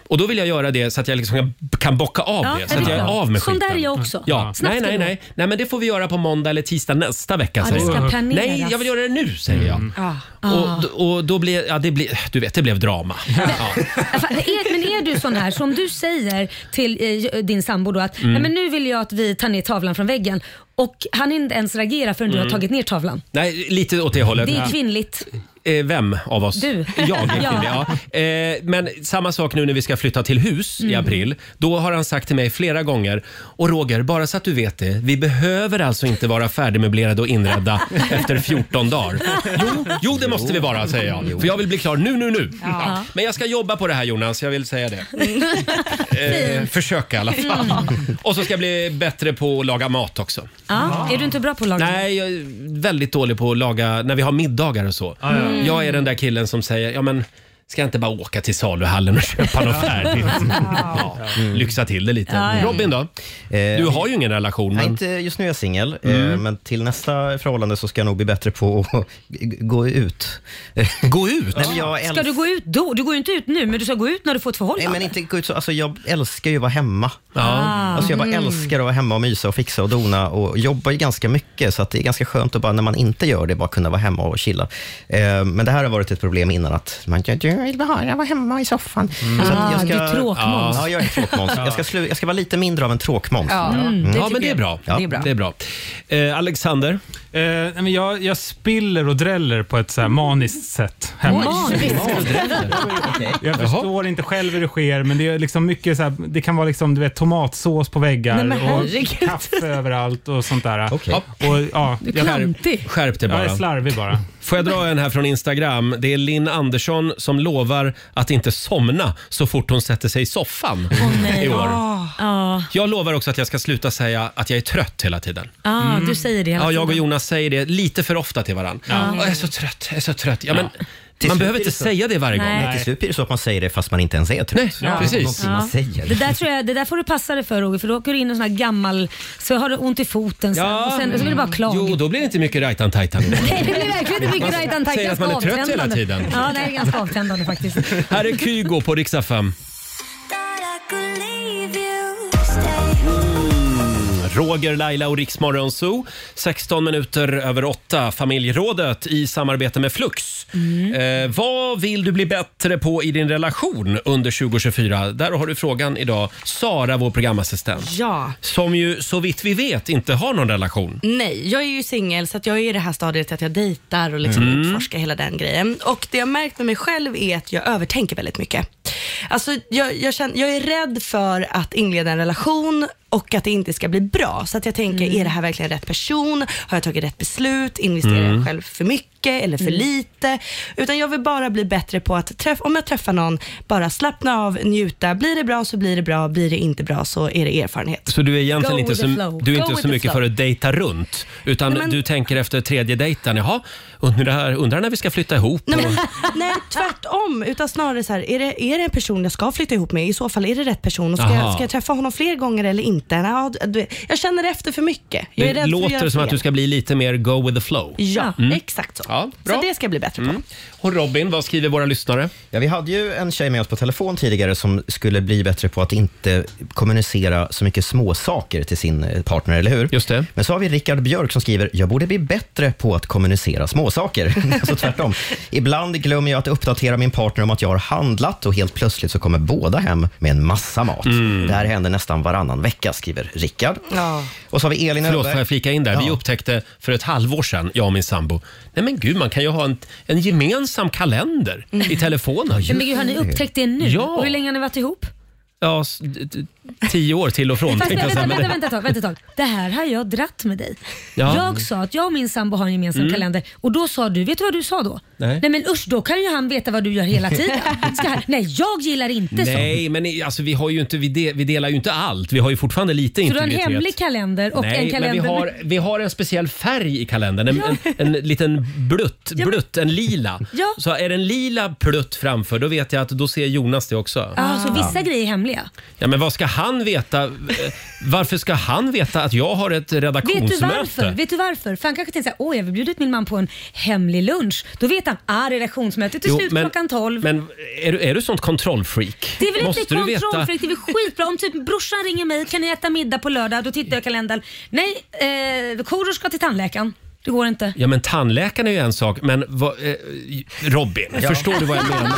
S1: Och då vill jag göra det så att jag liksom kan bocka av
S2: Ja,
S1: det, så
S2: är
S1: att
S2: det
S1: jag är
S2: klart.
S1: av med
S2: Sån
S1: skiten.
S2: där är jag också.
S1: Ja.
S2: Snabbt
S1: Nej, nej,
S2: ska det
S1: nej. nej, men det får vi göra på måndag eller tisdag nästa vecka.
S2: Ja, det
S1: säger
S2: ska
S1: jag.
S2: planeras. Mm.
S1: Nej, jag vill göra det nu, säger jag.
S2: Ja.
S1: Och, d- och då blev, ja det blev, du vet, det blev drama. Ja.
S2: Ja, fan, är- Men är du sån här som du säger till eh, din sambo då att
S1: Mm.
S2: "Nej, men nu vill jag att vi tar ner tavlan från väggen och han inte ens reagerar förrän du
S1: Mm.
S2: har tagit ner tavlan.
S1: Nej, lite åt det hållet.
S2: Det är kvinnligt.
S1: Eh, Vem av oss?
S2: Du.
S1: Jag. är
S2: Ja.
S1: kul, ja. Eh, Men samma sak nu när vi ska flytta till hus i
S2: Mm.
S1: april. Då har han sagt till mig flera gånger, och Roger, bara så att du vet det, vi behöver alltså inte vara färdigmöblerade och inredda efter 14 dagar. Jo, jo det måste vi vara, säger jag. För jag vill bli klar nu, nu, nu.
S2: Ja.
S1: Ja. Men jag ska jobba på det här Jonas, jag vill säga det. Eh,
S2: Fint. Mm.
S1: försöka i alla fall. Och så ska jag bli bättre på att laga mat också.
S2: Ja. Är du inte bra på att laga mat?
S1: Nej, jag är väldigt dålig på att laga när vi har middagar och så.
S2: ja. Mm.
S1: Jag är den där killen som säger, ja men ska jag inte bara åka till saluhallen och köpa något färdigt? Ja, lyxa till det lite.
S3: Ja, ja.
S1: Robin då? Du har ju ingen relation.
S3: Eh, Nej,
S1: Men...
S3: inte, just nu är jag singel,
S1: Mm.
S3: eh, men till nästa förhållande så ska jag nog bli bättre på att g- gå ut.
S1: Gå ut?
S3: Nej, men jag
S2: Ska du gå ut då? Du går ju inte ut nu men du ska gå ut när du får ett förhållande.
S3: Nej men inte gå ut så, alltså jag älskar ju att vara hemma.
S2: Ah.
S3: Alltså jag bara
S2: Mm.
S3: älskar att vara hemma och mysa och fixa och dona och jobbar ju ganska mycket så att det är ganska skönt att bara när man inte gör det bara kunna vara hemma och chilla. Eh, men det här har varit ett problem innan att man jag, jag vill bara vara hemma i soffan. Så att
S2: Ah, du är tråkmåns.
S3: Ja, jag är tråkmåns. Jag ska, slu, jag ska vara lite mindre av en tråkmåns.
S2: Ja,
S3: Mm.
S2: mm, det
S1: Ja, men det är bra.
S3: Ja.
S1: Det är bra. Eh, Alexander?
S9: Eh, nej, men jag, jag spiller och dräller på ett så här maniskt sätt. hemma.
S1: Mm.
S9: Jag förstår inte själv hur det sker, men det är liksom mycket så här, det kan vara liksom, du vet, tomatsås på väggar
S2: Nej, men
S9: och
S2: herregud.
S9: kaffe överallt och sånt där. Och, ja,
S2: Du är klantig.
S1: Skärp dig bara.
S9: Jag är slarvig bara.
S1: Får jag dra en här från Instagram? Det är Linn Andersson som lovar att inte somna så fort hon sätter sig i soffan i år.
S2: Ja.
S1: Jag lovar också att jag ska sluta säga att jag är trött hela tiden.
S2: Ah, Du säger det hela
S1: Ja, jag och
S2: tiden.
S1: Jonas säger det lite för ofta till varandra.
S2: Ja.
S1: Jag är så trött, jag är så trött. Ja, men,
S3: Till
S1: Man
S3: slut
S1: behöver
S3: blir
S1: inte
S3: det så.
S1: säga det varje
S2: Nej.
S1: gång.
S2: Nej, till
S3: slut blir det så att man säger det fast man inte ens är trött.
S1: Nej,
S3: Ja.
S1: precis.
S3: Någonting man
S2: Det
S3: säger.
S2: där, tror jag, det där får du passa dig för Roger, för då åker du in i en sån här gammal, så har du ont i foten sen, och sen så blir det bara klaga.
S1: Mm. Jo, då blir det inte mycket rajtan-tajtan.
S2: Nej, det blir verkligen inte mycket
S1: Man
S2: right antack.
S1: säger att man är
S2: Ganska
S1: trött hela
S2: avtändande.
S1: tiden.
S2: Ja, nej, det är ganska avtändande faktiskt.
S1: Här är Kygo på riksdag 5. Mm, Roger, Laila och Riksmorgon Zoo. 16 minuter över 8. Familjerådet i samarbete med Flux. Eh, vad vill du bli bättre på i din relation under 2024? Där har du frågan idag. Sara, vår programassistent.
S7: Ja.
S1: Som ju så vitt vi vet inte har någon relation.
S7: Nej, jag är ju singel så att jag är i det här stadiet att jag dejtar och liksom
S1: Mm.
S7: utforskar hela den grejen. Och det jag märkt med mig själv är att jag övertänker väldigt mycket. Alltså, jag, jag, känner, jag är rädd för att inleda en relation och att det inte ska bli bra. Så att jag tänker, är det här verkligen rätt person? Har jag tagit rätt beslut? Investerar
S13: Mm.
S7: jag själv för mycket eller för
S13: Mm.
S7: lite? Utan jag vill bara bli bättre på att träff, om jag träffar någon, bara slappna av, njuta. Blir det bra så blir det bra, blir det inte bra så är det erfarenhet.
S1: Så du är egentligen
S7: Go
S1: inte
S7: with
S1: så,
S7: the flow.
S1: du är
S7: Go
S1: inte
S7: with
S1: så
S7: the
S1: mycket
S7: flow.
S1: för att dejta runt. Utan
S7: Nej, men-
S1: du tänker efter tredje dejten, jaha, undrar, undrar när vi ska flytta ihop?
S7: Nej,
S1: och-
S7: men, nej, tvärtom. Utan snarare så här, är det, är det en person jag ska flytta ihop med? I så fall, är det rätt person? Och ska,
S1: Aha.
S7: jag, ska jag träffa honom fler gånger eller inte? Ja, du, jag känner efter för mycket. Jag är rädd
S1: Det
S7: för
S1: låter
S7: göra
S1: som att
S7: fel.
S1: du ska Mm. bli lite mer go with the flow.
S7: Ja, exakt så.
S1: Ja, bra.
S7: Så det ska jag bli bättre
S1: Mm.
S7: på.
S1: Och Robin, vad skriver våra lyssnare?
S3: Ja, vi hade ju en tjej med oss på telefon tidigare som skulle bli bättre på att inte kommunicera så mycket småsaker till sin eh, partner, eller hur?
S1: Just det.
S3: Men så har vi Rickard Björk som skriver, jag borde bli bättre på att kommunicera småsaker. alltså tvärtom. Ibland glömmer jag att uppdatera min partner om att jag har handlat och helt plötsligt så kommer båda hem med en massa mat.
S1: Mm.
S3: Det här händer nästan varannan vecka, skriver Rickard.
S7: Ja.
S3: Och så har vi Elin
S1: Förlåt,
S3: Öberg.
S1: får jag flika in där? Vi
S3: Ja.
S1: upptäckte för ett halvår sedan, jag och min sambo, nej men gud, man kan ju ha en, en gemensam kalender
S7: Mm.
S1: i telefonen.
S2: Men gud, har ni upptäckt det nu?
S1: Ja.
S2: Och hur länge har ni varit ihop?
S1: Ja, s- d- d- tio år till och från.
S2: Fast,
S1: tänkte jag
S2: vänta,
S1: säga, men
S2: vänta,
S1: det-
S2: vänta, ett tag, vänta ett tag. Det här har jag dratt med dig.
S1: Ja.
S2: Jag sa att jag och min sambo har en gemensam
S1: Mm.
S2: kalender och då sa du, vet du vad du sa då?
S1: Nej.
S2: Nej men usch, då kan ju han veta vad du gör hela tiden. Ska han, nej, jag gillar inte
S1: Nej, men i- alltså, vi, har ju inte, vi, de, vi delar ju inte allt. Vi har ju fortfarande lite
S2: så. Så du har
S1: integritet.
S2: en hemlig kalender och
S1: Nej,
S2: en kalender
S1: men vi har,
S2: med-
S1: vi har en speciell färg i kalendern. En, en, en liten blutt, blutt, en lila.
S2: Ja.
S1: Så är det en lila plutt framför, då vet jag att då ser Jonas det också.
S2: Ja, Ah, så vissa grejer är hemliga.
S1: Ja, men vad ska han veta? Eh, Varför ska han veta att jag har ett
S2: Vet du
S1: redaktionsmöte?
S2: varför? Vet du varför? För han kanske tänkte såhär, åh jag vill bjuda ut min man på en hemlig lunch. Då vet han, ah redaktionsmötet är
S1: Jo,
S2: slut
S1: men-
S2: klockan 12.
S1: Men är du, är du sånt kontrollfreak?
S2: det är väl
S1: Måste
S2: inte
S1: du veta-
S2: kontrollfritt, det är väl skitbra om typ brorsan ringer mig, kan ni äta middag på lördag? Då tittar jag i kalendern. Nej, eh, Korosh ska till tandläkaren. Det går inte.
S1: Ja, men tandläkaren är ju en sak, men vad, eh, Robin,
S3: Ja.
S1: förstår du vad jag menar?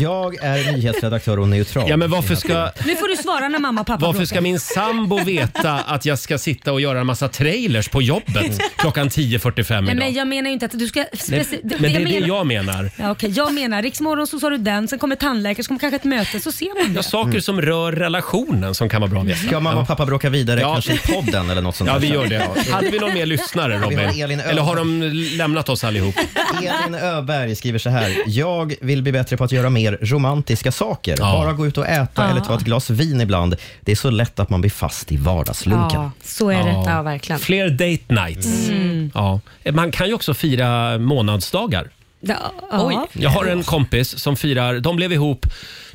S3: Jag är nyhetsredaktör och neutral.
S1: Ja, men varför ska,
S2: Nu får du svara när mamma och pappa
S1: varför
S2: bråkar.
S1: ska min sambo veta att jag ska sitta och göra en massa trailers på jobbet klockan 10.45
S2: Nej,
S1: idag?
S2: men jag menar ju inte att du ska...
S1: Nej,
S2: speci-
S1: men det är det jag menar.
S2: Ja, okej, jag menar riksmorgon så sa du den, sen kommer tandläkaren, så kommer kanske ett möte, så ser man det.
S1: Ja, saker som rör relationen som kan vara bra att veta.
S3: Ska mamma och pappa bråka vidare
S1: Ja.
S3: kanske i podden eller något sånt
S1: Ja,
S3: där?
S1: vi gör det.
S3: Mm. Ja.
S1: Hade vi någon mer lyssnare,
S3: Vi har
S1: Robin?
S3: Elin Öberg.
S1: Eller har de lämnat oss allihop?
S3: Elin Öberg skriver så här. Jag vill bli bättre på att göra mer romantiska saker. Bara gå ut och äta
S2: Ja.
S3: eller ta ett glas vin ibland. Det är så lätt att man blir fast i vardagslunken.
S2: Ja, så är det. Ja, verkligen.
S1: Fler date nights.
S2: Mm.
S1: Ja. Man kan ju också fira månadsdagar.
S2: Ja, ja.
S1: Jag har en kompis som firar, de blev ihop,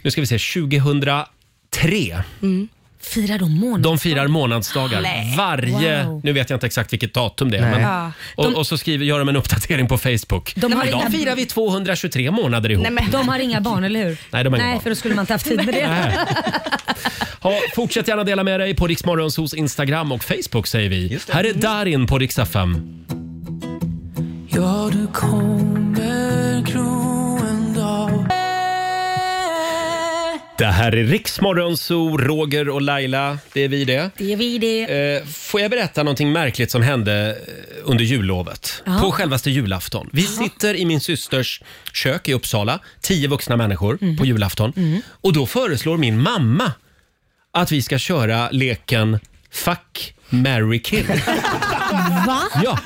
S1: nu ska vi se, 2003.
S2: Mm. Firar de månad?
S1: De firar månadsdagar
S2: Nej.
S1: varje,
S2: Wow.
S1: nu vet jag inte exakt vilket datum det är.
S2: Nej.
S1: Men,
S2: Ja.
S1: och, och så skriver, gör de en uppdatering på Facebook.
S2: De har
S1: Idag
S2: inga-
S1: firar vi 223 månader ihop.
S2: Nej, men. De har inga barn, eller hur?
S1: Nej, de har inga
S2: Nej
S1: barn.
S2: för då skulle man inte haft tid med det.
S1: Nej. Ha, fortsätt gärna dela med dig på Riksmorgonsos Instagram och Facebook säger vi. Här är Darin på Rix FM.
S12: Ja, du kommer gro en dag
S1: Det här är Riksmorgonso, Roger och Laila. Det är vi det.
S2: Det är vi det.
S1: Eh, Får jag berätta någonting märkligt som hände eh, under jullovet?
S2: Ja.
S1: På självaste julafton. Vi sitter i min systers kök i Uppsala, tio vuxna människor
S2: Mhm.
S1: på julafton. Och då föreslår min mamma att vi ska köra leken Fuck, marry, kill.
S2: Va?
S1: ja,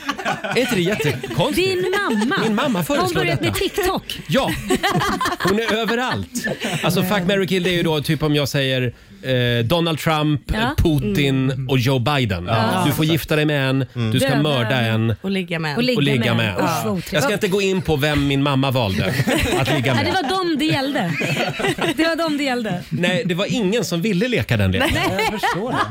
S1: är inte det jättekonstigt?
S2: Din mamma?
S1: Min mamma
S2: Har hon
S1: föreslår
S2: börjat
S1: detta.
S2: med TikTok?
S1: Ja, hon är överallt. Alltså fuck, marry, kill det är ju då typ om jag säger eh, Donald Trump,
S7: Ja.
S1: Putin och Joe Biden.
S7: Ja.
S1: Du får gifta dig med en, du ska
S7: Döda
S1: mörda en.
S7: Och ligga med.
S1: Och ligga, med. en.
S7: Usch, vad otrevligt.
S1: Jag ska inte gå in på vem min mamma valde att ligga
S2: Nej, det
S1: med.
S2: var dem det gällde. Det var dem det gällde.
S1: Nej, det var ingen som ville leka den leken.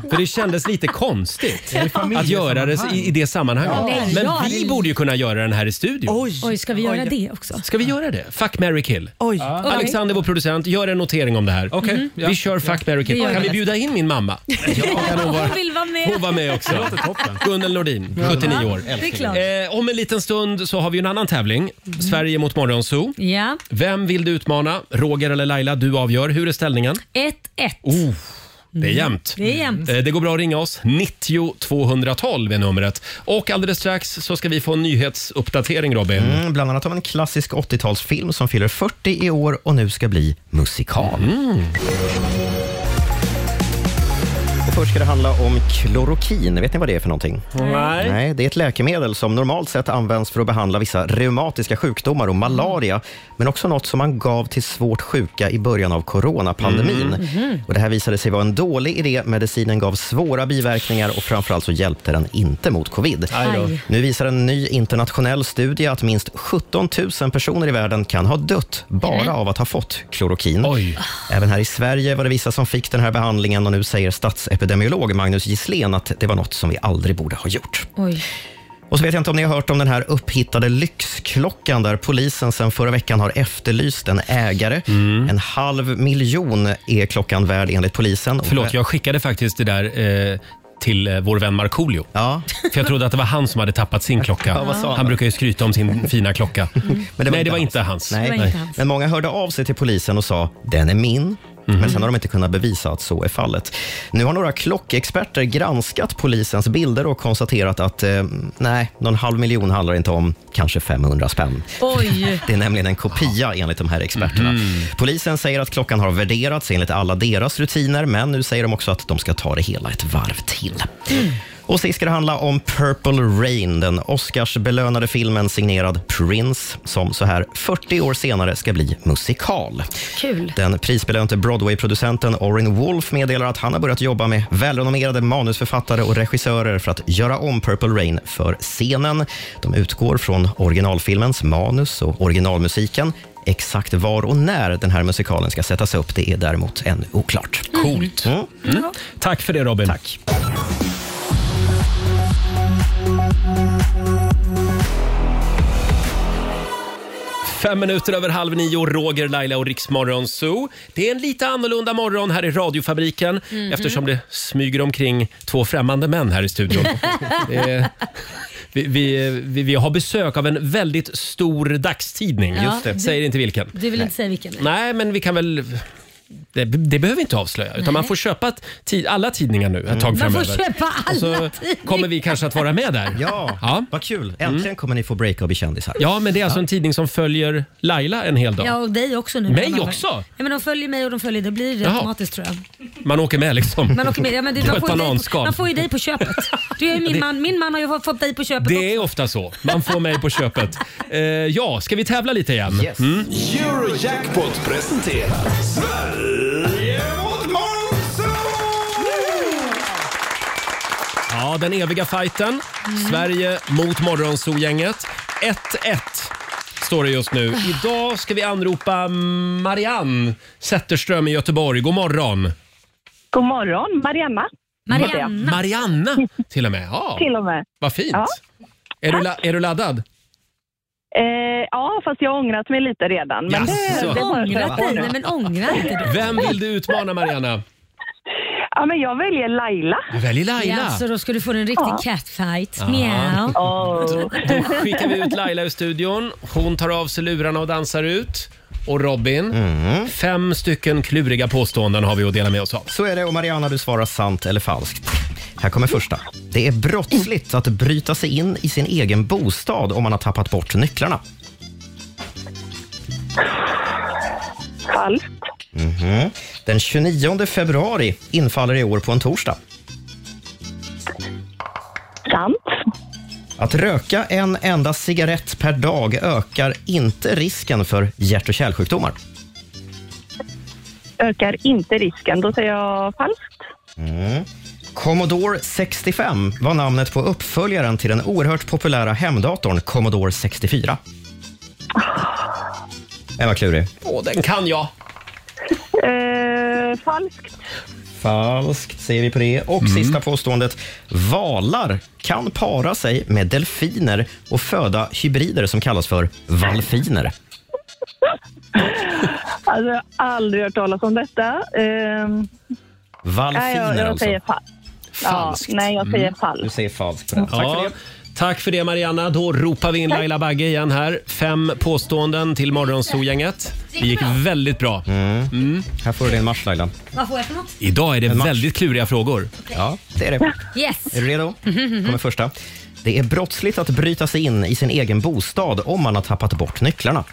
S1: För det kändes lite konstigt
S2: Det är
S1: att göra det i, i det sammanhanget.
S2: Ja. Nej,
S1: Men
S2: jag hade-
S1: vi borde ju kunna göra den här i studion.
S2: Oj, ska vi göra det också?
S1: Ska vi göra det? Fuck, marry, kill.
S2: Oj.
S1: Ja. Alexander, vår producent, gör en notering om det här.
S2: Okej,
S1: Mhm.
S2: ja.
S1: Vi kör fuck, marry,
S2: Det
S1: kill.
S2: gör
S1: Kan
S2: vi.
S1: vi bjuda in min mamma? Kan hon vara-
S2: Hon vill vara med.
S1: Hon var med
S2: Det
S1: också.
S2: låter toppen.
S1: Gunnel Nordin,
S2: Ja.
S1: 79 år.
S2: Ja, det är klart.
S1: Eh, om en liten stund så har vi en annan tävling.
S2: Mhm.
S1: Sverige mot Morgonzoo.
S2: Ja,
S1: Vem vill du utmana? Roger eller Laila? Du avgör. Hur är ställningen?
S2: 1-1.
S1: Oh, det är jämnt.
S2: Det är jämnt.
S1: Eh, Det går bra att ringa oss. 90 212 är numret. Och alldeles strax så ska vi få en nyhetsuppdatering, Robin.
S3: Mm, bland annat av en klassisk 80-talsfilm som fyller 40 i år och nu ska bli musikal. Och Först ska det handla om klorokin. Vet ni vad det är för någonting?
S1: Nej.
S3: det är ett läkemedel som normalt sett används för att behandla vissa reumatiska sjukdomar och malaria, men också något som man gav till svårt sjuka i början av coronapandemin.
S12: Mm. Mhm.
S3: Och det här visade sig vara en dålig idé. Medicinen gav svåra biverkningar och framförallt så hjälpte den inte mot covid.
S12: Aj då. Aj.
S3: Nu visar en ny internationell studie att minst 17 000 personer i världen kan ha dött bara av att ha fått klorokin. Även här i Sverige var det vissa som fick den här behandlingen och nu säger statsepidemiolog Magnus Gisslén att det var något som vi aldrig borde ha gjort.
S1: Mm.
S2: Oj.
S3: Och så vet jag inte om ni har hört om den här upphittade lyxklockan där polisen sedan förra veckan har efterlyst en ägare.
S1: Mm.
S3: En halv miljon är klockan värd enligt polisen.
S1: Förlåt, jag skickade faktiskt det där eh, till eh, vår vän Markoolio.
S3: Ja.
S1: För jag trodde att det var han som hade tappat sin klocka.
S3: Ja, vad sa
S1: han?
S3: han?
S1: brukar ju skryta om sin fina klocka. Nej, det var inte hans.
S3: Nej. Men många hörde av sig till polisen och sa den är min. Men sen har de inte kunnat bevisa att så är fallet. Nu har några klockexperter granskat polisens bilder och konstaterat att eh, nej, någon halv miljon handlar det inte om, kanske 500 spänn.
S2: Oj.
S3: Det är nämligen en kopia enligt de här experterna. Polisen säger att klockan har värderats enligt alla deras rutiner, men nu säger de också att de ska ta det hela ett varv till. Och sist ska det handla om Purple Rain, den Oscarsbelönade filmen signerad Prince, som så här 40 år senare ska bli musikal.
S2: Kul.
S3: Den prisbelönte Broadway-producenten Orin Wolf meddelar att han har börjat jobba med välrenommerade manusförfattare och regissörer för att göra om Purple Rain för scenen. De utgår från originalfilmens manus och originalmusiken Exakt var och när den här musikalen ska sättas upp, det är däremot ännu oklart.
S1: Coolt.
S3: Mm.
S1: Tack för det Robin.
S3: Tack.
S1: Fem minuter över halv nio, Roger, Laila och Riksmorgon Zoo. Det är en lite annorlunda morgon här i radiofabriken
S2: Mhm.
S1: eftersom det smyger omkring två främmande män här i studion. Det är- vi, vi, vi, vi har besök av en väldigt stor dagstidning.
S2: Ja, Just det.
S1: Säger inte vilken.
S2: Du vill inte säga vilken?
S1: Nej, men vi kan väl... Det, det behöver vi inte avslöja, utan
S2: Nej.
S1: man får köpa ett, ti- alla tidningar nu ett tag
S2: Man
S1: framöver.
S2: får köpa alla
S1: Och så
S2: tidningar.
S1: kommer vi kanske att vara med där.
S3: Ja, vad kul. Äntligen kommer ni få break och bli kändisar.
S1: Ja, men det är alltså en tidning som följer Laila en hel dag.
S2: Ja, och dig också nu.
S1: Mig
S2: framöver.
S1: också?
S2: Ja, men de följer mig och de följer dig. Det blir
S1: Jaha.
S2: automatiskt tror jag.
S1: Man åker med liksom.
S2: Man, åker med, ja, men det,
S1: På ett
S2: man, får ju dig, på-
S1: bananskal.
S2: man får ju dig på köpet. Du är ju
S1: Det-
S2: min, man, min man har ju fått dig på köpet också.
S1: Det är ofta så. Man får mig på köpet. Eh, ja, ska vi tävla lite igen?
S4: Yes.
S1: Mm.
S4: Eurojackpot presenterar Sverige mot Monzo!
S1: Ja, den eviga fighten. Sverige mot Morgonzoo-gänget. 1-1 står det just nu. Idag ska vi anropa Marianne Zetterström i Göteborg. God morgon!
S19: God morgon, Marianna.
S1: Marianna. Marianna till och med. Ja,
S19: Till och med.
S1: vad fint.
S19: Ja.
S1: Är, du la- är du laddad?
S19: Eh, ja, fast jag har ångrat mig lite redan. Men
S1: Jaså. Ångrat dig? Nej, men
S2: ångra inte
S19: dig.
S1: Vem vill du utmana Marianna?
S19: Ja, men jag väljer Laila.
S1: Du väljer Laila.
S2: Ja, så Alltså, då ska du få en riktig
S19: Ja.
S2: catfight.
S1: Ja.
S2: Mjau.
S1: Då, då skickar vi ut Laila ur studion. Hon tar av sig lurarna och dansar ut. Och Robin, fem stycken kluriga påståenden har vi att dela med oss av.
S3: Så är det och Mariana, du svarar sant eller falskt. Här kommer första. Det är brottsligt att bryta sig in i sin egen bostad om man har tappat bort nycklarna.
S19: Falskt.
S3: Mhm. Den 29 februari infaller i år på en torsdag.
S19: Sant.
S3: Att röka en enda cigarett per dag ökar inte risken för hjärt och kärlsjukdomar.
S19: Ökar inte risken. Då säger jag falskt.
S3: Mm. Commodore 65 var namnet på uppföljaren till den oerhört populära hemdatorn Commodore 64. Den var klurig.
S1: Åh, den kan jag.
S19: Eh, falskt.
S3: Falskt säger vi på det. Och sista påståendet. Valar kan para sig med delfiner och föda hybrider som kallas för valfiner.
S19: Alltså, jag har aldrig hört talas om detta. Eh, nej, jag,
S3: Valfiner
S19: jag
S3: alltså.
S19: säger fal- falskt. Ja, nej, jag säger
S1: Mm.
S19: falskt.
S3: Du säger falskt på den. Tack för
S1: Ja,
S3: det.
S1: tack för det Marianna. Då ropar vi in Laila Bagge igen här. Fem påståenden till Morgonzoo-gänget. Det gick väldigt bra. Mm.
S3: Här får du din marsch Laila.
S2: Vad får jag för något?
S1: Idag är det
S3: En match.
S1: väldigt kluriga frågor.
S3: Ja, det är det.
S2: Yes.
S3: Är du redo? kommer första. Det är brottsligt att bryta sig in i sin egen bostad om man har tappat bort nycklarna.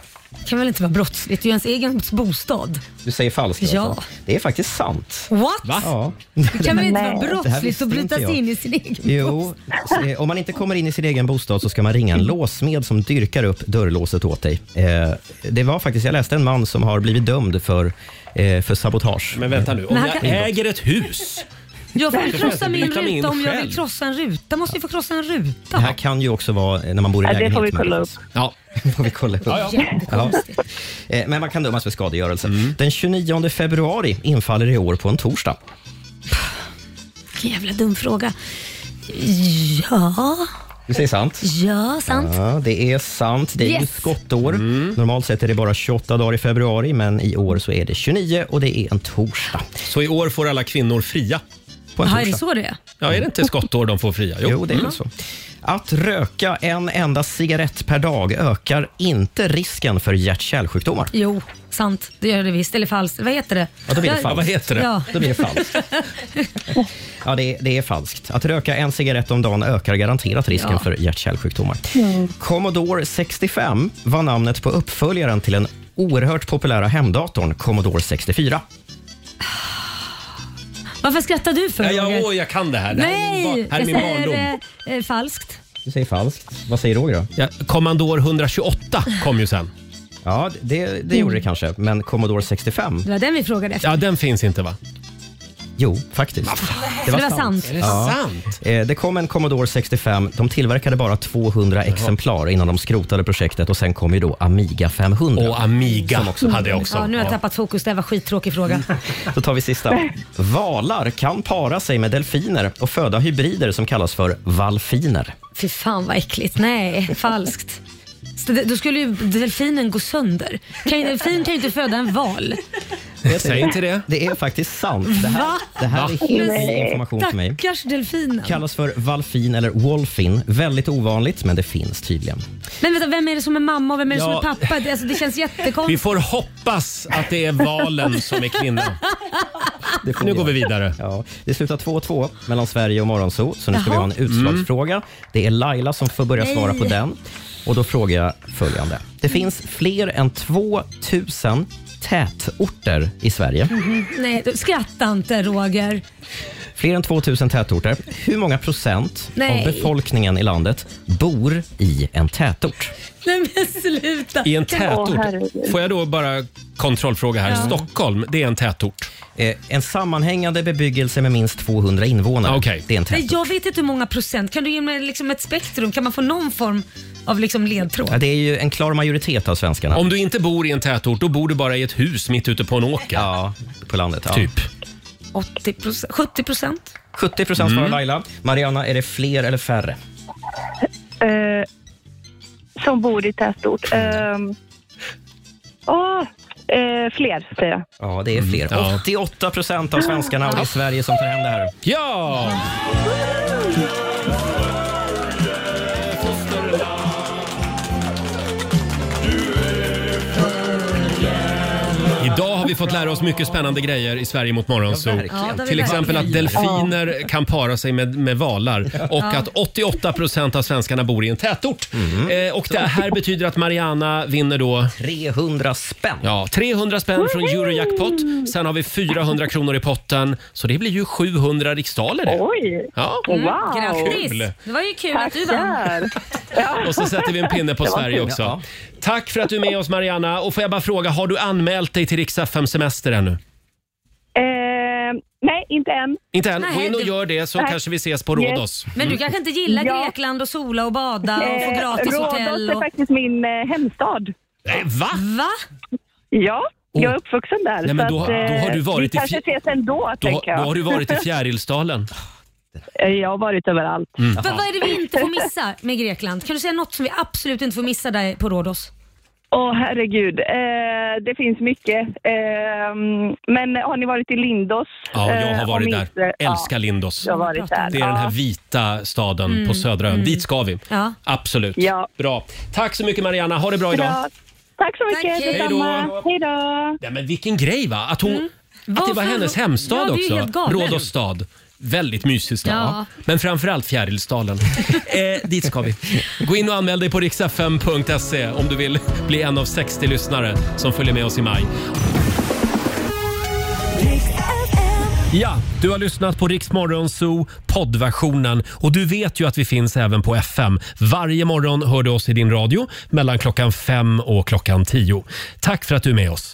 S2: kan väl inte vara brottsligt? Det är ju ens egen bostad.
S3: Du säger falskt
S2: Ja.
S3: alltså. Det är faktiskt sant.
S2: What?
S3: Ja.
S2: Det kan väl inte
S3: Nej.
S2: vara
S3: Det här
S2: brottsligt
S3: visste
S2: att bryta
S3: inte jag.
S2: sig in i sin egen
S3: Jo,
S2: bostad?
S3: eh, om man inte kommer in i sin egen bostad så ska man ringa en låsmed som dyrkar upp dörrlåset åt dig. Eh, det var faktiskt, jag läste en man som har blivit dömd för, eh, för sabotage.
S1: Men vänta nu, om
S2: Men han
S1: jag
S2: kan-
S1: äger ett hus.
S2: Jag får
S1: Varför
S2: ju
S1: får jag inte
S2: krossa min
S1: bryta mig in
S2: ruta om jag
S1: själv?
S2: vill krossa en ruta. måste ju få krossa en
S3: Det
S2: ruta.
S3: här kan ju också vara eh, när man bor i
S2: Ja, det
S3: lägenhet.
S2: får vi
S3: men-
S2: kolla upp.
S1: Ja.
S3: Det får vi kolla upp.
S2: Ja, ja.
S3: Ja. Eh, Men man kan dömas för skadegörelse. Den 29 februari infaller i år på en torsdag.
S2: Vilken jävla dum fråga. Ja,
S3: Du säger sant?
S2: ja, sant.
S3: Ja, det är sant. Det är ju
S2: Yes.
S3: skottår. Normalt sett är det bara 28 dagar i februari, men i år så är det 29 och det är en torsdag.
S1: Så i år får alla kvinnor fria.
S3: På en
S2: Jaha, är det
S3: torsdag.
S2: så det är?
S1: Ja, är det inte skottår de får fria?
S3: Jo, det är väl så. Att röka en enda cigarett per dag ökar inte risken för hjärt-kärlsjukdomar.
S2: Jo, sant. Det gör det visst. Eller falskt. Vad heter det?
S3: Ja, då blir det
S2: Jag-
S3: falskt. Vad heter det?
S2: Ja.
S3: Då blir det falskt. Ja, det, det är falskt. Att röka en cigarett om dagen ökar garanterat risken
S2: Ja.
S3: för hjärt-kärlsjukdomar. Commodore 65 var namnet på uppföljaren till den oerhört populära hemdatorn Commodore 64.
S2: Varför skrattar du för
S1: Nej, jag,
S2: Roger?
S1: åh, jag kan det här. Det här är min,
S2: Nej,
S1: bar- här är
S2: jag
S1: min barndom.
S2: säger eh, eh, falskt.
S3: Du säger falskt. Vad säger Roger då?
S1: Ja, Commodore 128 kom ju sen.
S3: Ja,
S2: Mm.
S3: det, det gjorde det kanske, men Commodore 65?
S2: Det var den vi frågade efter.
S1: Ja, den finns inte va?
S3: Jo, faktiskt.
S2: Det var sant. Är det
S3: Ja.
S2: sant?
S3: Eh, Det kom en Commodore 65. De tillverkade bara 200 exemplar innan de skrotade projektet och sen kom ju då Amiga 500.
S1: Och Amiga hade jag
S2: Ja, nu har jag tappat fokus. Det här var skittråkig fråga.
S3: Då tar vi sista. Valar kan para sig med delfiner och föda hybrider som kallas för valfiner.
S2: Fy fan vad äckligt. Nej, falskt. Så det- Då skulle ju delfinen gå sönder. Kan, ju- delfin kan ju inte föda en val.
S3: Säg inte det. Det är faktiskt sant. Det här,
S2: Va?
S3: det här är helt ny
S2: Men
S3: information för mig.
S2: Stackars delfinen.
S3: Kallas för valfin eller wolfin. Väldigt ovanligt, men det finns tydligen.
S2: Men vänta, vem är det som är mamma och vem är det som
S3: Ja.
S2: är pappa? Det- Alltså, det känns
S1: Vi
S2: jättekonstigt.
S1: får hoppas att det är valen som är kvinna.
S3: Det
S1: Nu går vi vidare.
S3: Ja, det slutar 2-2 mellan Sverige och Morgonzoo, så nu ska
S1: Jaha. Mm.
S3: vi ha en utslagsfråga. Det är Laila som får börja svara på
S1: Nej. Mm.
S3: den. Och Då frågar jag följande. Det finns fler än 2000 tätorter i Sverige.
S2: Mhm. Nej, du- skratta inte Roger.
S3: Fler än 2000 tätorter. Hur många procent
S2: Nej.
S3: av befolkningen i landet bor i en tätort?
S2: Nej men sluta.
S1: I en tätort. Får jag då bara kontrollfråga här.
S3: Ja.
S1: Stockholm, det är en tätort.
S3: Eh, en sammanhängande bebyggelse med minst 200 invånare. Det är en
S2: Nej,
S3: tätort.
S2: jag vet inte hur många procent. Kan du ge mig liksom ett spektrum? Kan man få någon form av liksom ledtråd?
S3: Ja, det är ju en klar majoritet av svenskarna.
S1: Om du inte bor i en tätort, då bor du bara i ett hus mitt ute på en åker.
S3: Ja, på landet. Ja.
S1: Typ.
S2: 80 procent? 70 procent?
S3: 70 procent svarar Laila. Mariana, är det fler eller färre?
S19: Eh, som bor i tätort. Eh, åh, eh, fler, säger jag.
S3: Ja, det är fler.
S1: Ja.
S3: 88 procent av svenskarna och det är Sverige som tar hem det här.
S1: Ja! Idag har vi fått lära oss mycket spännande grejer i Sverige mot
S13: Ja,
S1: morgonzoo.
S13: verkligen. Ja, det har vi
S1: Till exempel att
S13: verkligen.
S1: delfiner kan para sig med, med valar och
S13: Ja.
S1: att 88 procent av svenskarna bor i en tätort.
S13: Mm.
S1: Eh, och det här betyder att Mariana vinner då
S3: 300 spänn.
S1: Ja, 300 spänn från Eurojackpot. Sen har vi 400 kronor i potten, så det blir ju 700 riksdaler det.
S19: Oj!
S1: Ja.
S19: Mm, Wow.
S2: Grattis!
S1: Kul.
S2: Det var ju kul att du vann.
S19: Tackar.
S1: Och så sätter vi en pinne på
S19: Mm. Det var
S1: Sverige
S19: kul.
S1: också.
S19: Ja.
S1: Tack för att du är med oss Mariana. Och får jag bara fråga, har du anmält dig till Rix FM semester ännu?
S19: Eh, nej, inte än.
S1: Inte än? Gå in och gör det så
S19: Nej.
S1: kanske vi ses på
S19: Yes.
S1: Rhodos.
S2: Men du kanske inte gillar Grekland och sola och bada och få
S19: Eh,
S2: gratis
S19: Rhodos
S2: hotell?
S19: är
S2: Och...
S19: faktiskt min eh, hemstad.
S1: Nej, Eh, va?
S2: Va?
S19: Ja, jag
S1: Oh.
S19: är uppvuxen där.
S1: Nej, men
S19: så
S1: då-
S19: att,
S1: då
S19: eh,
S1: har du varit
S19: vi
S1: i
S19: kanske
S1: fj-
S19: ses ändå,
S1: Då,
S19: tänker
S1: då
S19: jag.
S1: har du varit i Fjärilsdalen.
S19: Eh, jag har varit överallt.
S1: Mm.
S2: Vad, vad är det vi inte får missa med Grekland? Kan du säga något som vi absolut inte får missa där på Rhodos?
S19: Åh herregud, eh, det finns mycket. Eh, men har ni varit i Lindos?
S1: Ja, jag
S19: Eh,
S1: har varit
S19: om
S1: där.
S19: inte-
S1: Älskar
S19: ja,
S1: Lindos.
S19: Jag har varit där.
S1: Det är den här
S19: ja.
S1: vita staden
S19: Mm,
S1: på södra ön.
S19: mm.
S1: Dit ska vi.
S19: Ja.
S1: Absolut.
S19: Ja.
S1: Bra. Tack så mycket Mariana. Ha det bra idag.
S19: Bra. Tack så mycket,
S2: Tack, hej.
S19: detsamma. Hej då.
S1: Ja, men vilken grej va? Att, hon, att det
S2: Varför-
S1: var hennes hemstad
S2: Mm. Ja, det är ju
S1: också.
S2: helt galet.
S1: Rhodos stad. Väldigt mysig stad.
S2: Ja.
S1: Men framförallt Fjärilsdalen. eh, dit ska vi. Gå in och anmäl dig på riksfm.se om du vill bli en av 60 lyssnare som följer med oss i maj. Ja, du har lyssnat på Rix Morgon Zoo poddversionen och du vet ju att vi finns även på FM. Varje morgon hör du oss i din radio mellan klockan fem och klockan tio. Tack för att du är med oss.